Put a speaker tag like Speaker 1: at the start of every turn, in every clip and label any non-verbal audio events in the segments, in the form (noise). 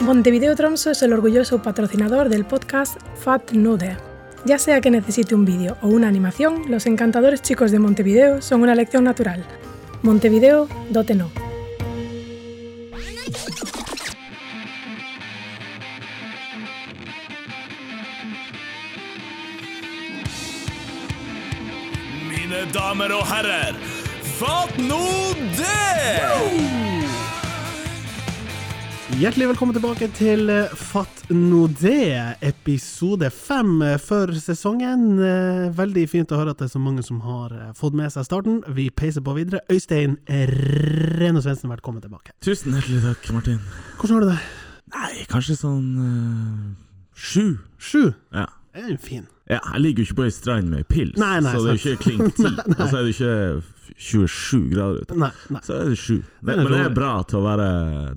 Speaker 1: Montevideo Tromso es el orgulloso patrocinador del podcast Fat Nude. Ya sea que necesite un vídeo o una animación, los encantadores chicos de Montevideo son una elección natural. Montevideo, dote no.
Speaker 2: Mine damer og herrer, fatt nå det!
Speaker 3: Hjertelig velkommen tilbake til eh, Fatt nå det, episode fem eh, for sesongen. Eh, Veldig fint å høre at det er så mange som har eh, fått med seg starten. Vi peiser på videre. Øystein Reno Svendsen, velkommen tilbake.
Speaker 2: Tusen hjertelig takk, Martin.
Speaker 3: Hvordan har du det?
Speaker 2: Nei, kanskje sånn eh, sju.
Speaker 3: Sju?
Speaker 2: Ja.
Speaker 3: Det er jo fin.
Speaker 2: ja. Jeg ligger jo ikke på ei strand med pils,
Speaker 3: Nei, nei,
Speaker 2: så det er jo
Speaker 3: sant.
Speaker 2: ikke klink
Speaker 3: (laughs)
Speaker 2: ti. Og så er det ikke 27 grader ute.
Speaker 3: Nei, nei.
Speaker 2: Så er det sju.
Speaker 3: Den
Speaker 2: Men,
Speaker 3: er
Speaker 2: men det
Speaker 3: dårlig.
Speaker 2: er bra til å være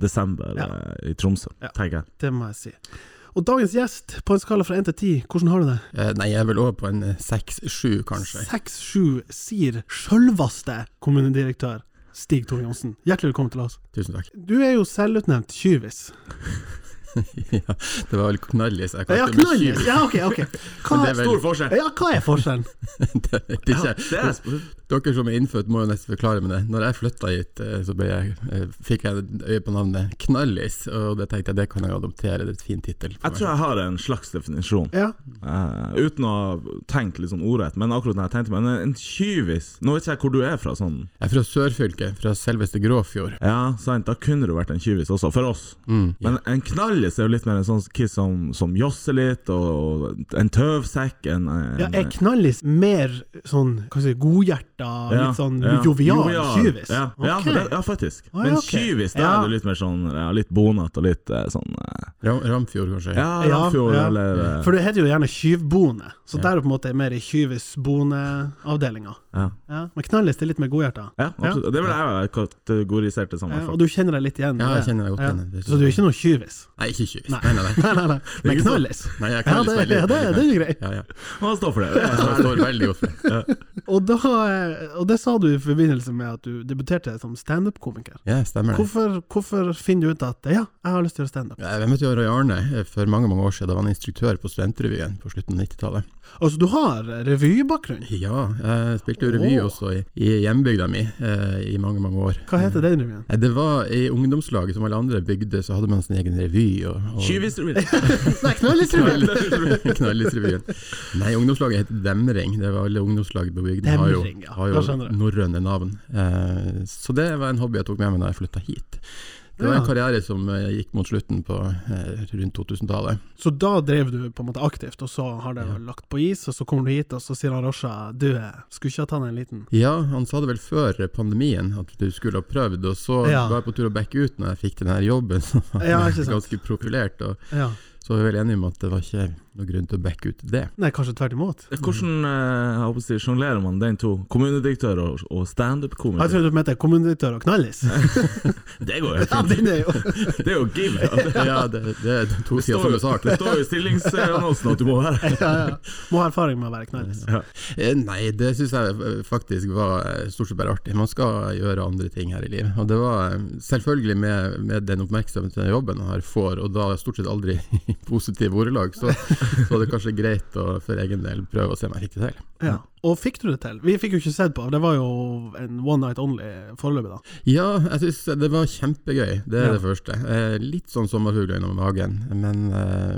Speaker 2: desember eh, i Tromsø, tenker jeg.
Speaker 3: Det må jeg si. Og dagens gjest, på en skala fra én til ti, hvordan har du det?
Speaker 4: Eh, Nei, jeg er vel over på en eh, seks-sju, kanskje.
Speaker 3: Seks-sju sier sjølvaste kommunedirektør Stig Tore Johnsen. Hjertelig velkommen til oss.
Speaker 4: Tusen takk. (laughs)
Speaker 3: Du er jo selvutnevnt tjuvis.
Speaker 4: ja, det var vel knallis jeg
Speaker 3: Ja,
Speaker 4: kalte meg
Speaker 3: knall!
Speaker 4: tjuv.
Speaker 3: Ja, ok, ok. Hva,
Speaker 4: Men det er vel- Stor
Speaker 3: forskjell. Ja, hva er
Speaker 2: (laughs)
Speaker 3: forskjellen?
Speaker 4: (laughs) Det vet ikke jeg.
Speaker 2: Det er sp-
Speaker 4: Dere som er innfødt må jo nesten forklare meg det. Når jeg flytta hit, eh, så ble jeg, eh, fikk jeg øye på navnet Knallis, og det tenkte jeg det kan jeg adoptere, det er et fin tittel. for
Speaker 2: Jeg tror
Speaker 4: meg.
Speaker 2: jeg har en slags definisjon,
Speaker 3: Ja,
Speaker 2: eh, uten å tenke litt sånn ordrett. Men akkurat når jeg tenkte meg en, en tjuvis Nå vet ikke jeg hvor du er fra, sånn
Speaker 4: Jeg er fra sørfylket, fra selveste Gråfjord. Mm.
Speaker 2: Ja, sant. Da kunne du vært en tjuvis også, for oss. Men en knallis er jo litt mer en sånn kiss som, som josser litt, og en tøvsekk, en, en
Speaker 3: ja Er knallis mer sånn hva skal jeg si, godhjerta,
Speaker 2: ja,
Speaker 3: litt sånn
Speaker 2: ja.
Speaker 3: jovial tjuvis?
Speaker 2: Ja, ja,
Speaker 3: Ok.
Speaker 2: for det, ja faktisk.
Speaker 3: Ah, ja,
Speaker 2: Men
Speaker 3: ok.
Speaker 2: tjuvis, da
Speaker 3: Ja.
Speaker 2: er du litt mer sånn ja, Litt bonete og litt eh, sånn eh,
Speaker 4: Ram Ramfjord, kanskje.
Speaker 2: Ja,
Speaker 3: Ja,
Speaker 2: Ramfjord
Speaker 3: ja.
Speaker 2: eller eh,
Speaker 3: For det heter jo gjerne tjuvbone, så der er det på en måte mer i tjuvesboneavdelinga.
Speaker 2: ja.
Speaker 3: Ja, men knallis det er litt mer godhjerta.
Speaker 2: ja, absolutt. Det ville jeg kategorisert det som. i
Speaker 3: Ja,
Speaker 2: hvert
Speaker 3: og
Speaker 2: fall.
Speaker 3: du kjenner deg litt igjen?
Speaker 4: Ja, jeg
Speaker 3: i det.
Speaker 4: kjenner meg godt
Speaker 3: Ja.
Speaker 4: igjen i det.
Speaker 3: Så du er ikke noen tjuvis?
Speaker 4: Nei, ikke tjuv.
Speaker 3: Nei.
Speaker 4: Nei, nei,
Speaker 2: (laughs)
Speaker 4: nei.
Speaker 3: Nei, nei, nei. (laughs) Men
Speaker 2: ikke sånn.
Speaker 3: knallis?
Speaker 4: nei jeg er
Speaker 3: Ja,
Speaker 4: knallis
Speaker 3: det,
Speaker 4: veldig
Speaker 3: ja, det, det er jo greit.
Speaker 4: Ja, ja.
Speaker 2: Han står for det. det. er
Speaker 3: (laughs)
Speaker 4: Jeg
Speaker 2: sånn.
Speaker 4: står veldig ofte.
Speaker 3: Og, da, eh, og det sa du i forbindelse med at du debuterte som standup-komiker.
Speaker 4: Ja, stemmer det.
Speaker 3: Hvorfor, hvorfor finner du ut at ja, jeg har lyst til å gjøre standup?
Speaker 4: Ja, Jeg møtte jo Roy Arne eh, for mange mange år siden. Da var han instruktør på Studentrevyen på slutten av 90-tallet.
Speaker 3: Altså, du har revybakgrunn.
Speaker 4: Ja, jeg spilte jo revy
Speaker 3: Åh.
Speaker 4: også i, i hjembygda mi eh, i mange, mange år.
Speaker 3: Hva heter den revyen?
Speaker 4: Eh, Det var i ungdomslaget, som alle andre bygder, så hadde man sin egen revy. Og, og (laughs)
Speaker 2: Tjuvis-revy.
Speaker 3: (laughs) Nei, knallrevyen!
Speaker 4: Knallisrevyen. Nei, ungdomslaget heter Demring. Det var alle ungdomslag på bygda har jo,
Speaker 3: Demring, ja.
Speaker 4: har
Speaker 3: Da
Speaker 4: jo
Speaker 3: skjønner jeg.
Speaker 4: norrøne navn. Eh, så det var en hobby jeg tok med meg da jeg flytta hit. Det var
Speaker 3: Ja.
Speaker 4: en karriere som eh, gikk mot slutten på eh, rundt 2000-tallet.
Speaker 3: Så da drev du på en måte aktivt, og så har det lagt på is, og så kommer du hit, og så sier han Rosha du, eh, skulle ikke ha tatt en liten
Speaker 4: Ja, han sa det vel før pandemien at du skulle ha prøvd, og så
Speaker 3: Ja.
Speaker 4: var jeg på tur å backe ut når jeg fikk den her jobben, (laughs) som var
Speaker 3: Ja, ikke sant.
Speaker 4: ganske profilert. Og
Speaker 3: Ja.
Speaker 4: så var vi vel enige om at det var ikke noe grunn til å backe ut det. (laughs)
Speaker 3: Nei, kanskje tvert imot.
Speaker 2: Hvordan eh, jeg håper å si, sjonglerer man den to? Kommunedirektør og, og
Speaker 3: Jeg
Speaker 2: standup-komiker?
Speaker 3: trodde du mente kommunedirektør og (laughs) knallis.
Speaker 2: Det går jo helt
Speaker 3: Ja,
Speaker 2: fint.
Speaker 3: den er jo
Speaker 2: (laughs) Det er jo give.
Speaker 3: (laughs)
Speaker 4: Ja, det, det er to
Speaker 2: Det
Speaker 4: sider
Speaker 2: står
Speaker 4: av
Speaker 2: jo-
Speaker 4: samme sak.
Speaker 2: Det står jo i stillingsannonsen at du må være her.
Speaker 3: (laughs) ja, ja. Må ha erfaring med å være knallis.
Speaker 4: Eh, Nei, det syns jeg eh, faktisk var eh, stort sett bare artig. Man skal gjøre andre ting her i livet. Og det var eh, selvfølgelig med, med den oppmerksomheten den jobben her får, og da stort sett aldri (laughs) i positive ordelag, så, så var det kanskje greit å for egen del prøve å se om jeg fikk det til.
Speaker 3: Ja. Og fikk du det til? Vi fikk jo ikke sett på, det var jo en one night only foreløpig, da.
Speaker 4: Ja, jeg syns det var kjempegøy. Det er
Speaker 3: Ja.
Speaker 4: det første. Eh, litt sånn sommerfugler innom magen. Men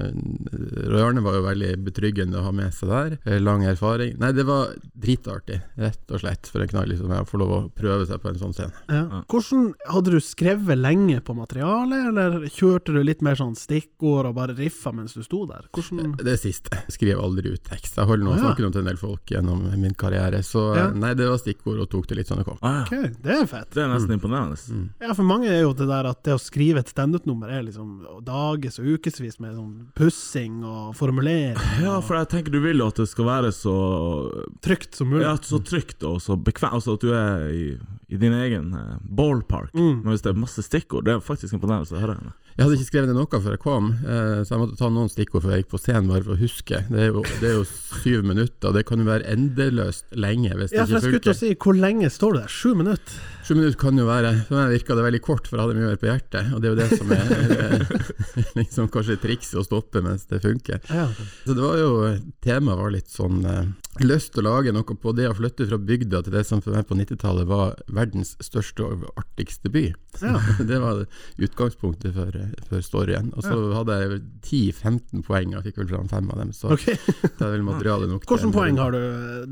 Speaker 4: eh, Roy Arne var jo veldig betryggende å ha med seg der. Eh, lang erfaring. Nei, det var dritartig, rett og slett, for en knall som jeg får lov å prøve seg på en sånn scene.
Speaker 3: Ja. Hvordan Hadde du skrevet lenge på materialet, eller kjørte du litt mer sånn stikkord og bare riffa mens du sto der? Hvordan
Speaker 4: Det siste. Jeg skriver aldri ut tekst. Jeg holder nå
Speaker 3: Mm. Å,
Speaker 4: og
Speaker 3: ja.
Speaker 4: snakker om til en del folk gjennom min karriere, så eh,
Speaker 3: Ja.
Speaker 4: nei, det var stikkord og tok det litt sånn det kom.
Speaker 2: Ah, ja.
Speaker 3: Ok, det er fett.
Speaker 2: Det er nesten imponerende.
Speaker 3: Ja, for mange er jo det der at det å skrive et standup-nummer er liksom dages og ukevis med sånn pussing og (laughs) formulering.
Speaker 2: Ja, for jeg tenker du vil jo at det skal være så,
Speaker 3: Trygt som mulig.
Speaker 2: ja, så trygt og så bekvemt, altså at du er i, i din egen eh, ballpark.
Speaker 3: Mm.
Speaker 2: Men hvis det er masse stikkord, det er faktisk imponerende å høre.
Speaker 4: Jeg hadde ikke skrevet ned noe før jeg kom, eh, så jeg måtte ta noen stikkord før jeg gikk på scenen bare for å huske. Det er jo, det er jo syv minutter, det kan jo være ende, tankeløst lenge hvis det
Speaker 3: Ja, for jeg
Speaker 4: ikke
Speaker 3: skulle til å si,
Speaker 4: funker.
Speaker 3: hvor lenge står du der? Sju minutter?
Speaker 4: Sju minutter kan jo være For meg virka det veldig kort, for jeg hadde mye mer på hjertet. Og det er (laughs) jo det som er liksom kanskje trikset, å stoppe mens det funker.
Speaker 3: Ja.
Speaker 4: Så det var jo, Temaet var litt sånn eh, lyst til å lage noe på det å flytte fra bygda til det som for meg på 90-tallet var verdens største og artigste by.
Speaker 3: Ja.
Speaker 4: (laughs) Det var utgangspunktet for, eh, for storyen. Og så hadde jeg 10-15 poeng, og jeg fikk vel fram fem av dem. Så
Speaker 3: Ok.
Speaker 4: (laughs) det er vel materiale nok. til
Speaker 3: Hvilke
Speaker 4: en-
Speaker 3: poeng har du,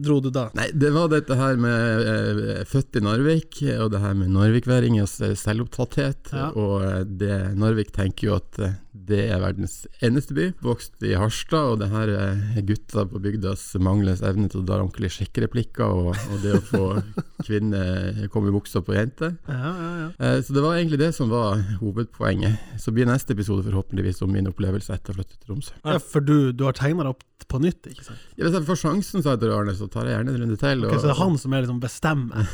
Speaker 3: dro du da?
Speaker 4: Nei, det var dette her med eh, født i Narvik, og det her med narvikværingers eh, selvopptatthet.
Speaker 3: Ja.
Speaker 4: Og eh, det, Narvik tenker jo at eh, det er verdens eneste by, vokst i Harstad. Og det her eh, gutta på bygdas mangles evne til å dra ordentlig sjekkereplikker, og, og det å få
Speaker 3: (laughs)
Speaker 4: kvinner komme i buksa på jenter.
Speaker 3: Ja, ja, ja.
Speaker 4: Eh, Så det var egentlig det som var hovedpoenget. Så blir neste episode forhåpentligvis om min opplevelse etter å flytte til Tromsø.
Speaker 3: ja for du, du har tegna deg opp på nytt, ikke sant?
Speaker 4: Ja, Hvis jeg får sjansen, sa jeg til Arne, så tar jeg gjerne en runde til.
Speaker 3: Ok, så det er han som er liksom bestemmer?
Speaker 4: (laughs)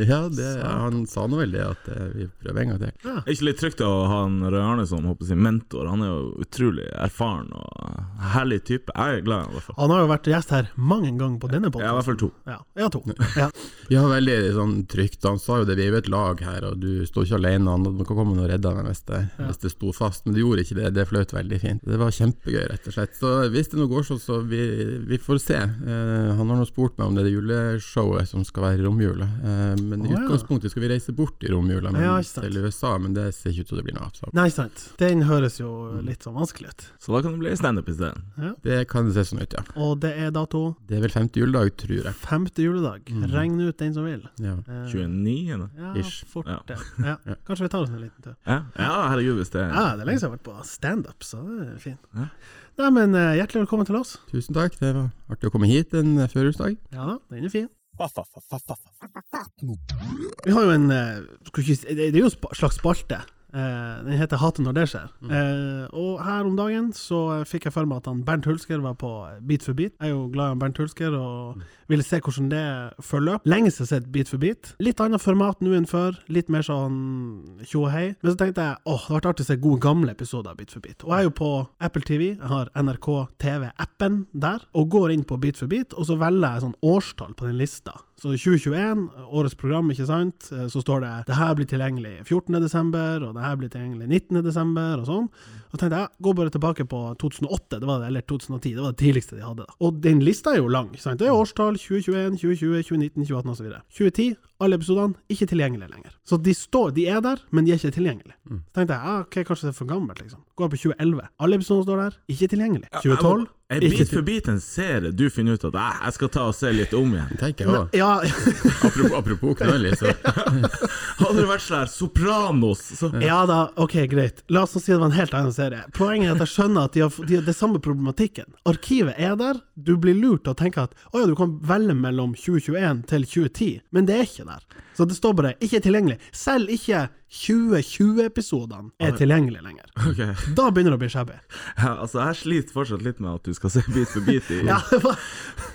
Speaker 4: Ja, det, han sa nå vel det, at eh, vi prøver en gang til.
Speaker 2: Er ikke litt trygt å ha en Røe Arne som håper sin mentor? Han er jo utrolig erfaren og herlig type. Jeg er glad i ham, i hvert fall.
Speaker 3: Han har jo vært gjest her mange ganger på denne
Speaker 2: Jeg er i
Speaker 3: podkasten.
Speaker 2: hvert fall to.
Speaker 3: Ja, ja, to. Ja.
Speaker 4: Ja, veldig sånn trygt. Han sa jo det, vi er jo et lag her, og du står ikke alene. Han kan komme og redde meg hvis det, hvis det sto fast, men det gjorde ikke det. Det fløt veldig fint. Det var kjempegøy, rett og slett. Så hvis det nå går sånn, så vi, vi får se. Eh, han har nå spurt meg om det er det juleshowet som skal være i romjula. Eh, men i
Speaker 3: Å, ja.
Speaker 4: utgangspunktet skal vi reise bort i romjula, men
Speaker 3: Ja, ikke sant.
Speaker 4: til USA, men det ser ikke ut til det blir noe av. så
Speaker 3: Nei, sant. Den høres jo litt sånn vanskelig ut.
Speaker 2: Så da kan det bli standup isteden.
Speaker 4: Det kan se sånn ut, ja.
Speaker 3: Og det er dato
Speaker 4: Det er vel femte juledag, tror jeg.
Speaker 3: femte juledag. Regn ut den som vil.
Speaker 4: Ja.
Speaker 3: Eh,
Speaker 2: 29. da.
Speaker 3: Ja,
Speaker 4: Ish.
Speaker 3: fort
Speaker 2: Ja. (laughs)
Speaker 3: det. Ja. Kanskje vi tar oss en liten tur.
Speaker 2: Ja, ja herregud, hvis det
Speaker 3: Ja, det er lenge siden jeg har vært på standup, så det er fint.
Speaker 2: Ja.
Speaker 3: Nei, men eh, hjertelig velkommen til oss.
Speaker 4: Tusen takk, det var artig å komme hit en eh, førjulsdag.
Speaker 3: Ja da, den er fin. Vi har jo en eh, skal ikke, si- Det det er jo en spa- slags spalte. Eh, den heter Hatet når det skjer. Eh, og her om dagen så eh, fikk jeg for meg at han Bernt Hulsker var på Beat for beat. Jeg er jo glad i Bernt Hulsker og ville se hvordan det forløp. Lenge siden jeg har sett Beat for beat. Litt annet format nå enn før. Litt mer sånn tjo og hei. Men så tenkte jeg åh, det hadde vært artig å se gode gamle episoder av Beat for beat. Og jeg er jo på Apple TV, jeg har NRK TV-appen der, og går inn på Beat for beat, og så velger jeg sånn årstall på den lista. Så 2021, årets program, ikke sant, Eh, så står det det her blir tilgjengelig 14. desember, og det her blir tilgjengelig 19. desember, og sånn. Og tenkte jeg, gå bare tilbake på 2008, det var det, eller 2010, det var det tidligste de hadde. da. Og den lista er jo lang, ikke sant. Det er årstall 2021, 2020, 2019, 2018 osv. 2010, alle episodene ikke tilgjengelige lenger. Så de står, de er der, men de er ikke tilgjengelige. Så tenkte jeg, ah, ok, kanskje det er for gammelt, liksom. Går på 2011, alle episodene står der, ikke tilgjengelig. 2012,
Speaker 2: Er
Speaker 3: ikke
Speaker 2: bit for bit en serie du finner ut at «Ah, jeg skal ta og se litt om igjen?
Speaker 4: Tenker jeg også.
Speaker 3: ja,
Speaker 4: Apropos, apropos knall,
Speaker 3: (laughs)
Speaker 4: så
Speaker 2: Hadde det vært sånn her Sopranos, så
Speaker 3: Ja da, ok, greit. La oss nå si det var en helt annen serie. Poenget er at jeg skjønner at de har, de har det samme problematikken. Arkivet er der, du blir lurt og tenker at å ja, du kan velge mellom 2021 til 2010, men det er ikke der. Så det står bare 'ikke tilgjengelig'. Selv ikke 2020-episodene er tilgjengelige lenger.
Speaker 2: Ok. (laughs)
Speaker 3: Da begynner det å bli shabby.
Speaker 2: Ja, altså, jeg sliter fortsatt litt med at du skal se bit for bit. I.
Speaker 3: (laughs) Ja, det var-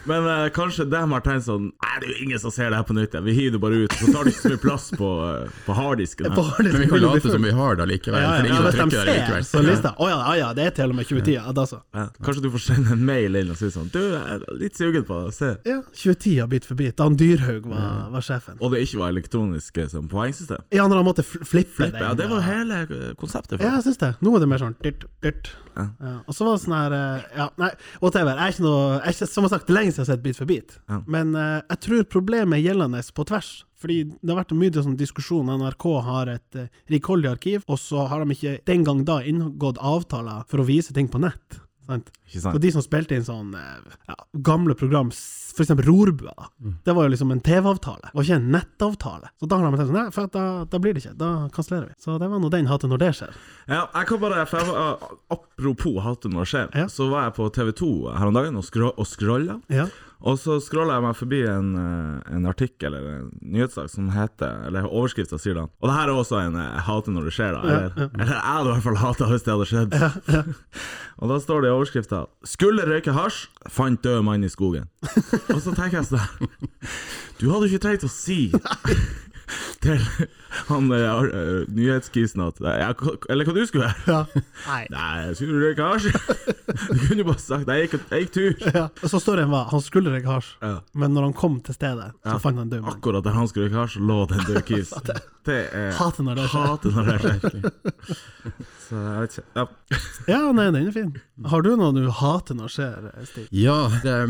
Speaker 2: Men eh, kanskje dem har tenkt sånn Nei, det er jo ingen som ser det her på nytt. ja. Vi hiver det bare ut. Så tar det ikke så mye plass på, eh, på harddisken. her.»
Speaker 3: bare det
Speaker 4: Men vi kan
Speaker 3: begynner å bli
Speaker 4: late som
Speaker 3: fullt.
Speaker 4: vi har det likevel.
Speaker 3: ja, ja,
Speaker 4: for
Speaker 3: ja,
Speaker 4: ingen
Speaker 3: hvis de
Speaker 4: trykker det
Speaker 3: ser,
Speaker 4: likevel.
Speaker 3: så lister jeg. Å ja, ja, ja, det er til og med 2010. Ja, da så.
Speaker 2: Ja, kanskje du får sende en mail inn og si sånn Du, jeg er litt sugen på å se.
Speaker 3: Ja, 2010 har bit for bit. Da han Dyrhaug var, var sjefen.
Speaker 2: Og det ikke var elektronisk eh, som poengsystem.
Speaker 3: Ja, når han måtte fl flippe,
Speaker 2: Flippe, ja, det var
Speaker 3: ja.
Speaker 2: hele eh, konseptet.
Speaker 3: Ja,
Speaker 2: For.
Speaker 3: jeg syns det. Nå er det mer sånn dyrt, dyrt. Ja.
Speaker 2: Ja.
Speaker 3: og så var det sånn her eh, Ja, nei, whatever. Jeg er ikke noe jeg er ikke, Som jeg har sagt, det er lenge siden jeg har sett Bit for bit.
Speaker 2: Ja.
Speaker 3: Men eh, jeg tror problemet er gjeldende på tvers. Fordi det har vært mye sånn diskusjon. NRK har et uh, rikholdig arkiv, og så har de ikke den gang da inngått avtaler for å vise ting på nett. Sant?
Speaker 2: Ikke
Speaker 3: Så
Speaker 2: sant?
Speaker 3: de som spilte inn sånn eh, ja, gamle program, s- for eksempel Rorbua, da.
Speaker 2: Mm.
Speaker 3: det var jo liksom en TV-avtale, og ikke en nettavtale. Så da har de tenkt sånn, nei, for at da, da blir det ikke, da kansellerer vi. Så det var nå den hatet når det skjer.
Speaker 2: Ja, jeg kan bare for jeg var, eh, Apropos hatet når det skjer,
Speaker 3: Ja.
Speaker 2: så var jeg på TV2 her om dagen og, skro og scrolla.
Speaker 3: Ja.
Speaker 2: Og så scrolla jeg meg forbi en, eh, en artikkel eller en nyhetssak som heter Eller overskrifta sier da Og det her er også en eh, 'jeg hater når det skjer', da. Eller, eller jeg hadde i hvert fall hata hvis det hadde skjedd. (laughs) og da står det i overskrifta 'Skulle røyke hasj, fant død (laughs) mann i skogen'. og så tenker jeg sånn Du hadde ikke trengt å si til han eh, ar- eh, nyhetskisen at eh, ja, hva- Eller hva du skulle gjøre?
Speaker 3: Ja. Nei.
Speaker 2: Nei, jeg skulle røyke hasj. (laughs) Du kunne jo bare sagt jeg gikk, jeg gikk tur.
Speaker 3: Ja. Og så storyen var han skulle røyke hasj,
Speaker 2: Ja.
Speaker 3: men når han kom til stedet, så fant han en død mann.
Speaker 2: Akkurat der han skulle røyke hasj, lå
Speaker 3: (laughs)
Speaker 2: det en død kis. Det er
Speaker 3: Hater når det skjer.
Speaker 2: Hater når det
Speaker 3: (laughs)
Speaker 2: skjer. Så jeg vet ikke. Ja.
Speaker 3: Ja, nei, den er fin. Har du noe du hater når skjer, Stig?
Speaker 4: Ja, jeg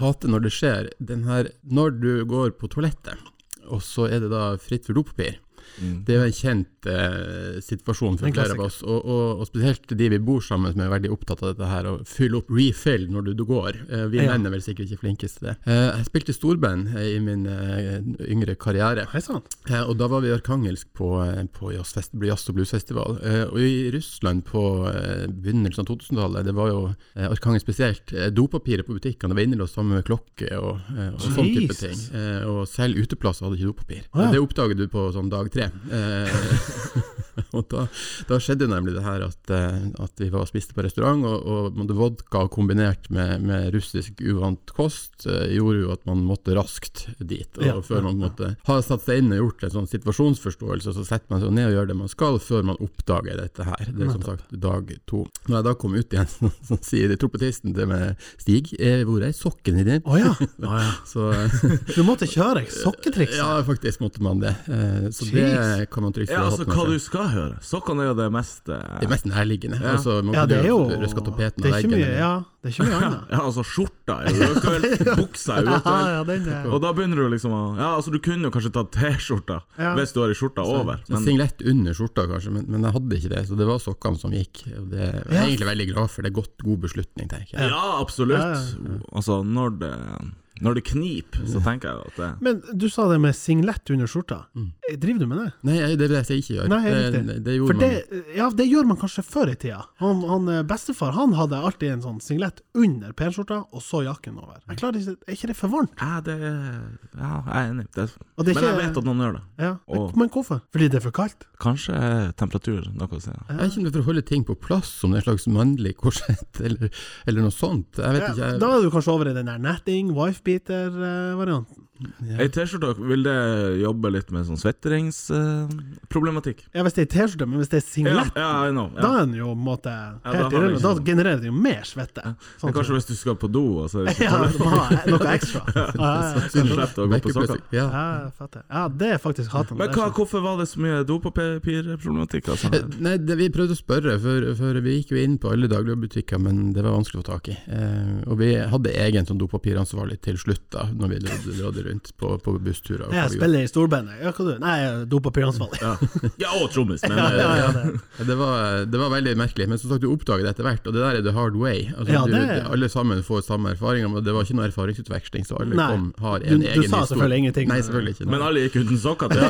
Speaker 4: hater når det skjer. Den her, når du går på toalettet, og så er det da fritt for dopapir. Det er jo en kjent eh, situasjon for
Speaker 3: En
Speaker 4: flere av oss, og, og, og spesielt de vi bor sammen med er veldig opptatt av dette her, å fylle opp refill når du, du går. Eh, vi
Speaker 3: Ja.
Speaker 4: menn er vel sikkert ikke flinkest til det. Eh, jeg spilte storband eh, i min eh, yngre karriere.
Speaker 3: Hei sann.
Speaker 4: Eh, og da var vi i Arkangelsk på, eh, på jazzfest, jazz- og bluesfestival. Eh, og i Russland på eh, begynnelsen av 2000-tallet, det var jo eh, Arkangelsk spesielt, eh, dopapiret på butikkene det var innelåst sammen med klokke og, eh, og sånn type ting.
Speaker 3: Jesus.
Speaker 4: Eh, og selv uteplasser hadde ikke dopapir.
Speaker 3: Å, ja.
Speaker 4: Det oppdaget du på sånn dag tre. Eh, (laughs) og da, da skjedde nemlig det her at, eh, at vi var og spiste på restaurant, og, og måtte vodka kombinert med, med russisk uvant kost eh, gjorde jo at man måtte raskt dit. Og
Speaker 3: Ja.
Speaker 4: før man måtte ha satt seg inn og gjort en sånn situasjonsforståelse, så setter man seg ned og gjør det man skal før man oppdager dette her. Det er som sagt dag to. Når jeg da kom ut igjen, (laughs) så, så sier trompetisten til meg, Stig, eh, hvor er sokken din?
Speaker 3: Å
Speaker 4: (laughs)
Speaker 3: ja. (laughs)
Speaker 4: Så
Speaker 3: Du måtte kjøre sokketrikset.
Speaker 4: ja, faktisk måtte man det. Eh, Så det
Speaker 3: Jeez.
Speaker 4: kan man trygt
Speaker 2: ja,
Speaker 4: ha
Speaker 2: altså,
Speaker 4: hatt med
Speaker 2: hva du
Speaker 4: seg.
Speaker 2: skal høre. Sokkene er jo det mest eh,
Speaker 4: Det er mest nærliggende.
Speaker 2: Ja.
Speaker 4: Altså, man
Speaker 3: Ja,
Speaker 4: kan
Speaker 3: det er jo
Speaker 4: jo røske tapeten
Speaker 3: Det er ikke
Speaker 4: av veggen,
Speaker 3: mye,
Speaker 4: eller-
Speaker 3: ja, det er ikke mye annet.
Speaker 2: (laughs) Ja, altså skjorta er
Speaker 3: (laughs)
Speaker 2: jo uaktuell, buksa er
Speaker 3: Ja,
Speaker 2: uaktuell.
Speaker 3: ja, den er
Speaker 2: Og da begynner du liksom å Ja, altså, du kunne jo kanskje tatt T-skjorta
Speaker 3: Ja.
Speaker 2: hvis du har ei skjorta over,
Speaker 4: En
Speaker 2: men
Speaker 4: Singlet under skjorta, kanskje, men, men jeg hadde ikke det. Så det var sokkene som gikk. Og det jeg er
Speaker 3: Ja.
Speaker 4: egentlig veldig glad for. Det er godt, god beslutning, tenker jeg.
Speaker 2: ja, absolutt. Altså, når det når det kniper, så tenker jeg at det
Speaker 3: Men du sa det med singlet under skjorta. Eh, Driver du med det?
Speaker 4: Nei, jeg- det er det jeg ikke gjør.
Speaker 3: Nei, helt
Speaker 4: det,
Speaker 3: riktig.
Speaker 4: det gjorde
Speaker 3: For det, ja, det gjør man kanskje før i tida. Han, han, eh, bestefar han hadde alltid en sånn singlet under penskjorta, og så jakken over. Jeg klarer ikke, Er ikke det for varmt?
Speaker 2: Ja, det Ja, jeg er enig. Det,
Speaker 3: Og det er
Speaker 2: men jeg
Speaker 3: ikke-
Speaker 2: vet at noen gjør det.
Speaker 3: Ja.
Speaker 2: Åh.
Speaker 3: Men hvorfor? Fordi det er for kaldt?
Speaker 2: Kanskje temperatur noe å si.
Speaker 4: Jeg er ikke noe for å holde ting på plass, som en slags mannlig korsett (laughs) eller, eller noe sånt. Jeg vet
Speaker 3: Ja,
Speaker 4: ikke. Jeg,
Speaker 3: da er du kanskje over i den der netting, wifebeater-varianten.
Speaker 2: Ei T-skjorte, vil det jobbe litt med sånn svetteringsproblematikk?
Speaker 3: Ja, hvis det er T-skjorte, men hvis det er
Speaker 2: ja,
Speaker 3: singlet,
Speaker 2: ja, I know.
Speaker 3: da
Speaker 2: Ja.
Speaker 3: er den jo på en måte
Speaker 2: da
Speaker 3: helt
Speaker 2: har vi
Speaker 3: irrelevant. Da
Speaker 2: liksom-
Speaker 3: genererer det jo mer svette. Sånn
Speaker 2: Men kanskje hvis du skal på do, og så er det
Speaker 3: (laughs)
Speaker 2: ikke
Speaker 3: Ja, du må ha noe ekstra.
Speaker 2: (laughs)
Speaker 3: Ja, ja, ja.
Speaker 2: så slett å gå på
Speaker 4: vekker
Speaker 2: sokker.
Speaker 4: plutselig- ja.
Speaker 3: Ja, jeg fatter. Ja, det er sånn. faktisk hatende.
Speaker 2: Men hva, hvorfor var det så mye
Speaker 3: (laughs)
Speaker 2: dopapirproblematikk? Altså?
Speaker 4: Eh, Nei, det, Vi prøvde å spørre, for, for vi gikk jo inn på alle dagligvarebutikker, men det var vanskelig å få tak i. Eh, og vi hadde egen sånn dopapiransvarlig til slutt, da, når vi rådde, rådde rundt på, på bussturer. og hva
Speaker 3: Jeg
Speaker 4: vi
Speaker 3: spiller i storbandet. Ja, hva du? Nei, jeg er dopapiransvarlig.
Speaker 2: Ja, ja og trommis, men eh,
Speaker 3: Ja, ja, det.
Speaker 4: gjorde. det, var, det var veldig merkelig, men som sagt, du oppdager det etter hvert, og det der er the hard way. Altså,
Speaker 3: Ja,
Speaker 4: du,
Speaker 3: det-
Speaker 4: Alle sammen får samme erfaringer, men det var ikke noe erfaringsutveksling, så alle
Speaker 3: Nei.
Speaker 4: kom, har
Speaker 3: Du-
Speaker 4: en
Speaker 3: du
Speaker 4: egen
Speaker 3: sa
Speaker 4: historie.
Speaker 3: selvfølgelig ingenting.
Speaker 4: Nei, selvfølgelig ikke.
Speaker 2: Men alle gikk uten sokker. Det er,